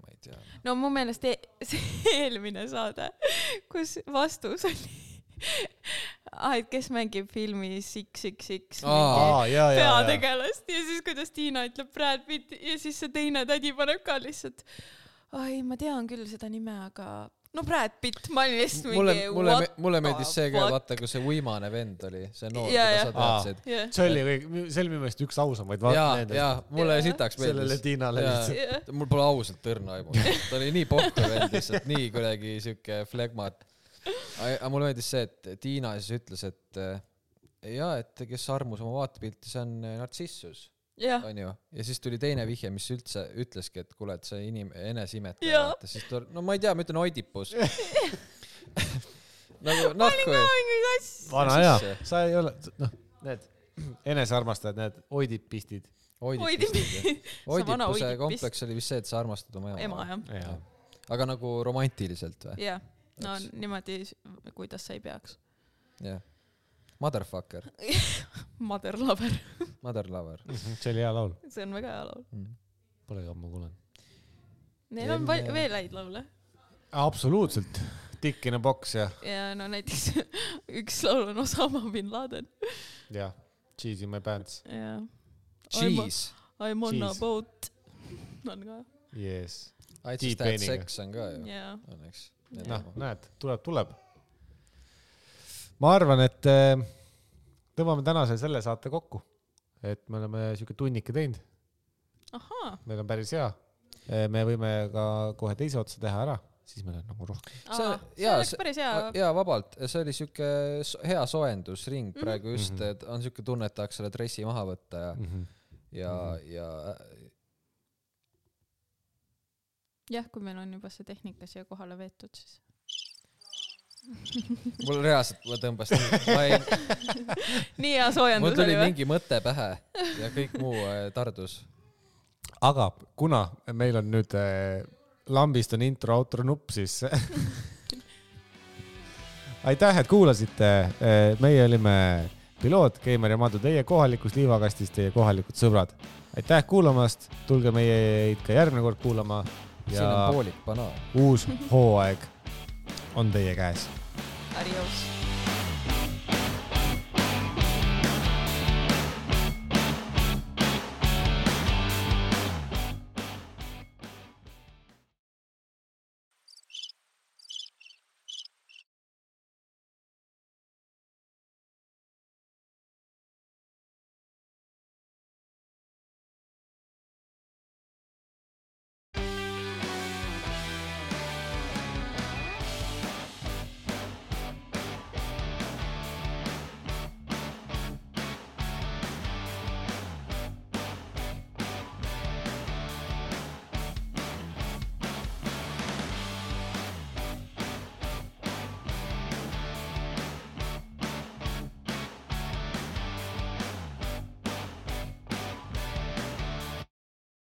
B: ma ei tea .
C: no mu meelest e see eelmine saade , kus vastus oli ah, , et kes mängib filmis XXX
B: Aa,
C: mingi
A: aa , ja , ja , ja .
C: peategelast ja siis kuidas Tiina ütleb Brad Pitt ja siis see teine tädi paneb ka lihtsalt , ai , ma tean küll seda nime , aga no Brad Pitt , ma olin lihtsalt mingi .
B: mulle , mulle , mulle meeldis see ka , vaata , kui see uimane vend oli , see noor ,
C: Jaa,
B: keda sa
C: jah.
A: Aa.
B: teadsid .
C: jah ,
A: see oli kõik , see oli minu meelest üks ausamaid
B: ja , ja
A: nendest .
B: mulle
C: Jaa.
B: sitaks
A: sellele
B: meeldis .
A: Tiinale
B: Jaa.
A: lihtsalt .
C: jah .
B: mul pole ausalt õrna aimu , ta oli nii pohku vend lihtsalt , nii kuidagi siuke flegma , et . aga mulle meeldis see , et Tiina siis ütles , et ja et kes armus oma vaatepilti , see on eh, nartsissus ,
C: jah ,
B: onju . ja siis tuli teine vihje , mis üldse ütleski , et kuule , et see inim- , eneseimetaja
C: Jaa. ,
B: siis ta , no ma ei tea , ma ütlen oidipus . nagu nahku .
C: mingi asja .
A: vana
B: Ja
A: hea
B: siis ,
A: sa ei ole , noh , need enesearmastajad , need oidipistid .
B: oidipus ,
C: See
B: oidipuse
C: vana oidipist.
B: kompleks oli vist see , et sa armastad oma ema,
C: ema . jah ,
A: jah ,
B: aga nagu romantiliselt või ?
C: jah , no
B: Eks.
C: niimoodi , kuidas sa ei peaks .
B: jah . Motherfucker ,
C: Mother Lover ,
B: mother lover .
A: Mhm, see oli hea laul ,
C: see on väga hea laul .
B: Mm.
A: pole ka ammu kuulanud .
C: Neil on pal- veel häid laule
A: absoluutselt , tikkine boks ja ,
C: ja no näiteks üks laul on Osama bin Laden
A: ja Cheese in my pants ,
C: ja
B: Cheese ,
C: I m on a
A: Jeez.
C: boat on ka
A: yes .
B: I
A: Deep
B: just had
A: veiniga.
B: sex on ka ju ,
C: ja
B: õnneks .
A: noh , näed , tuleb , tuleb . ma arvan , et äh, tõmbame tänase selle saate kokku , et me oleme siuke tunnike teinud ,
C: ahaa
A: meil on päris hea . me võime ka kohe teise otsa teha ära , siis meil on nagu rohkem .
C: Aa,
B: See-
C: see
B: jaa,
C: oleks
B: see-
C: päris hea
B: ja vabalt , see oli siuke so- hea soojendusring praegu
A: Mhm.
B: just , et on siuke tunne , et tahaks selle dressi maha võtta ja , ja ,
A: Mhm.
B: ja äh,
C: jah , kui meil on juba see tehnika siia kohale veetud , siis
B: mul reaalselt , ma tõmbasin , ma ei ,
C: nii hea
B: mul
C: soojendus
B: tuli
C: oli või ?
B: mingi mõte pähe ja kõik muu äh, tardus .
A: aga kuna meil on nüüd äh, lambist on intro-outro nupp , siis aitäh , et kuulasite . meie olime piloot , Keimar ja Madu , teie kohalikus liivakastis , teie kohalikud sõbrad . aitäh kuulamast , tulge meid ka järgmine kord kuulama
B: siin
A: ja
B: on poolik banaan .
A: uus hooaeg on teie käes .
C: Adios .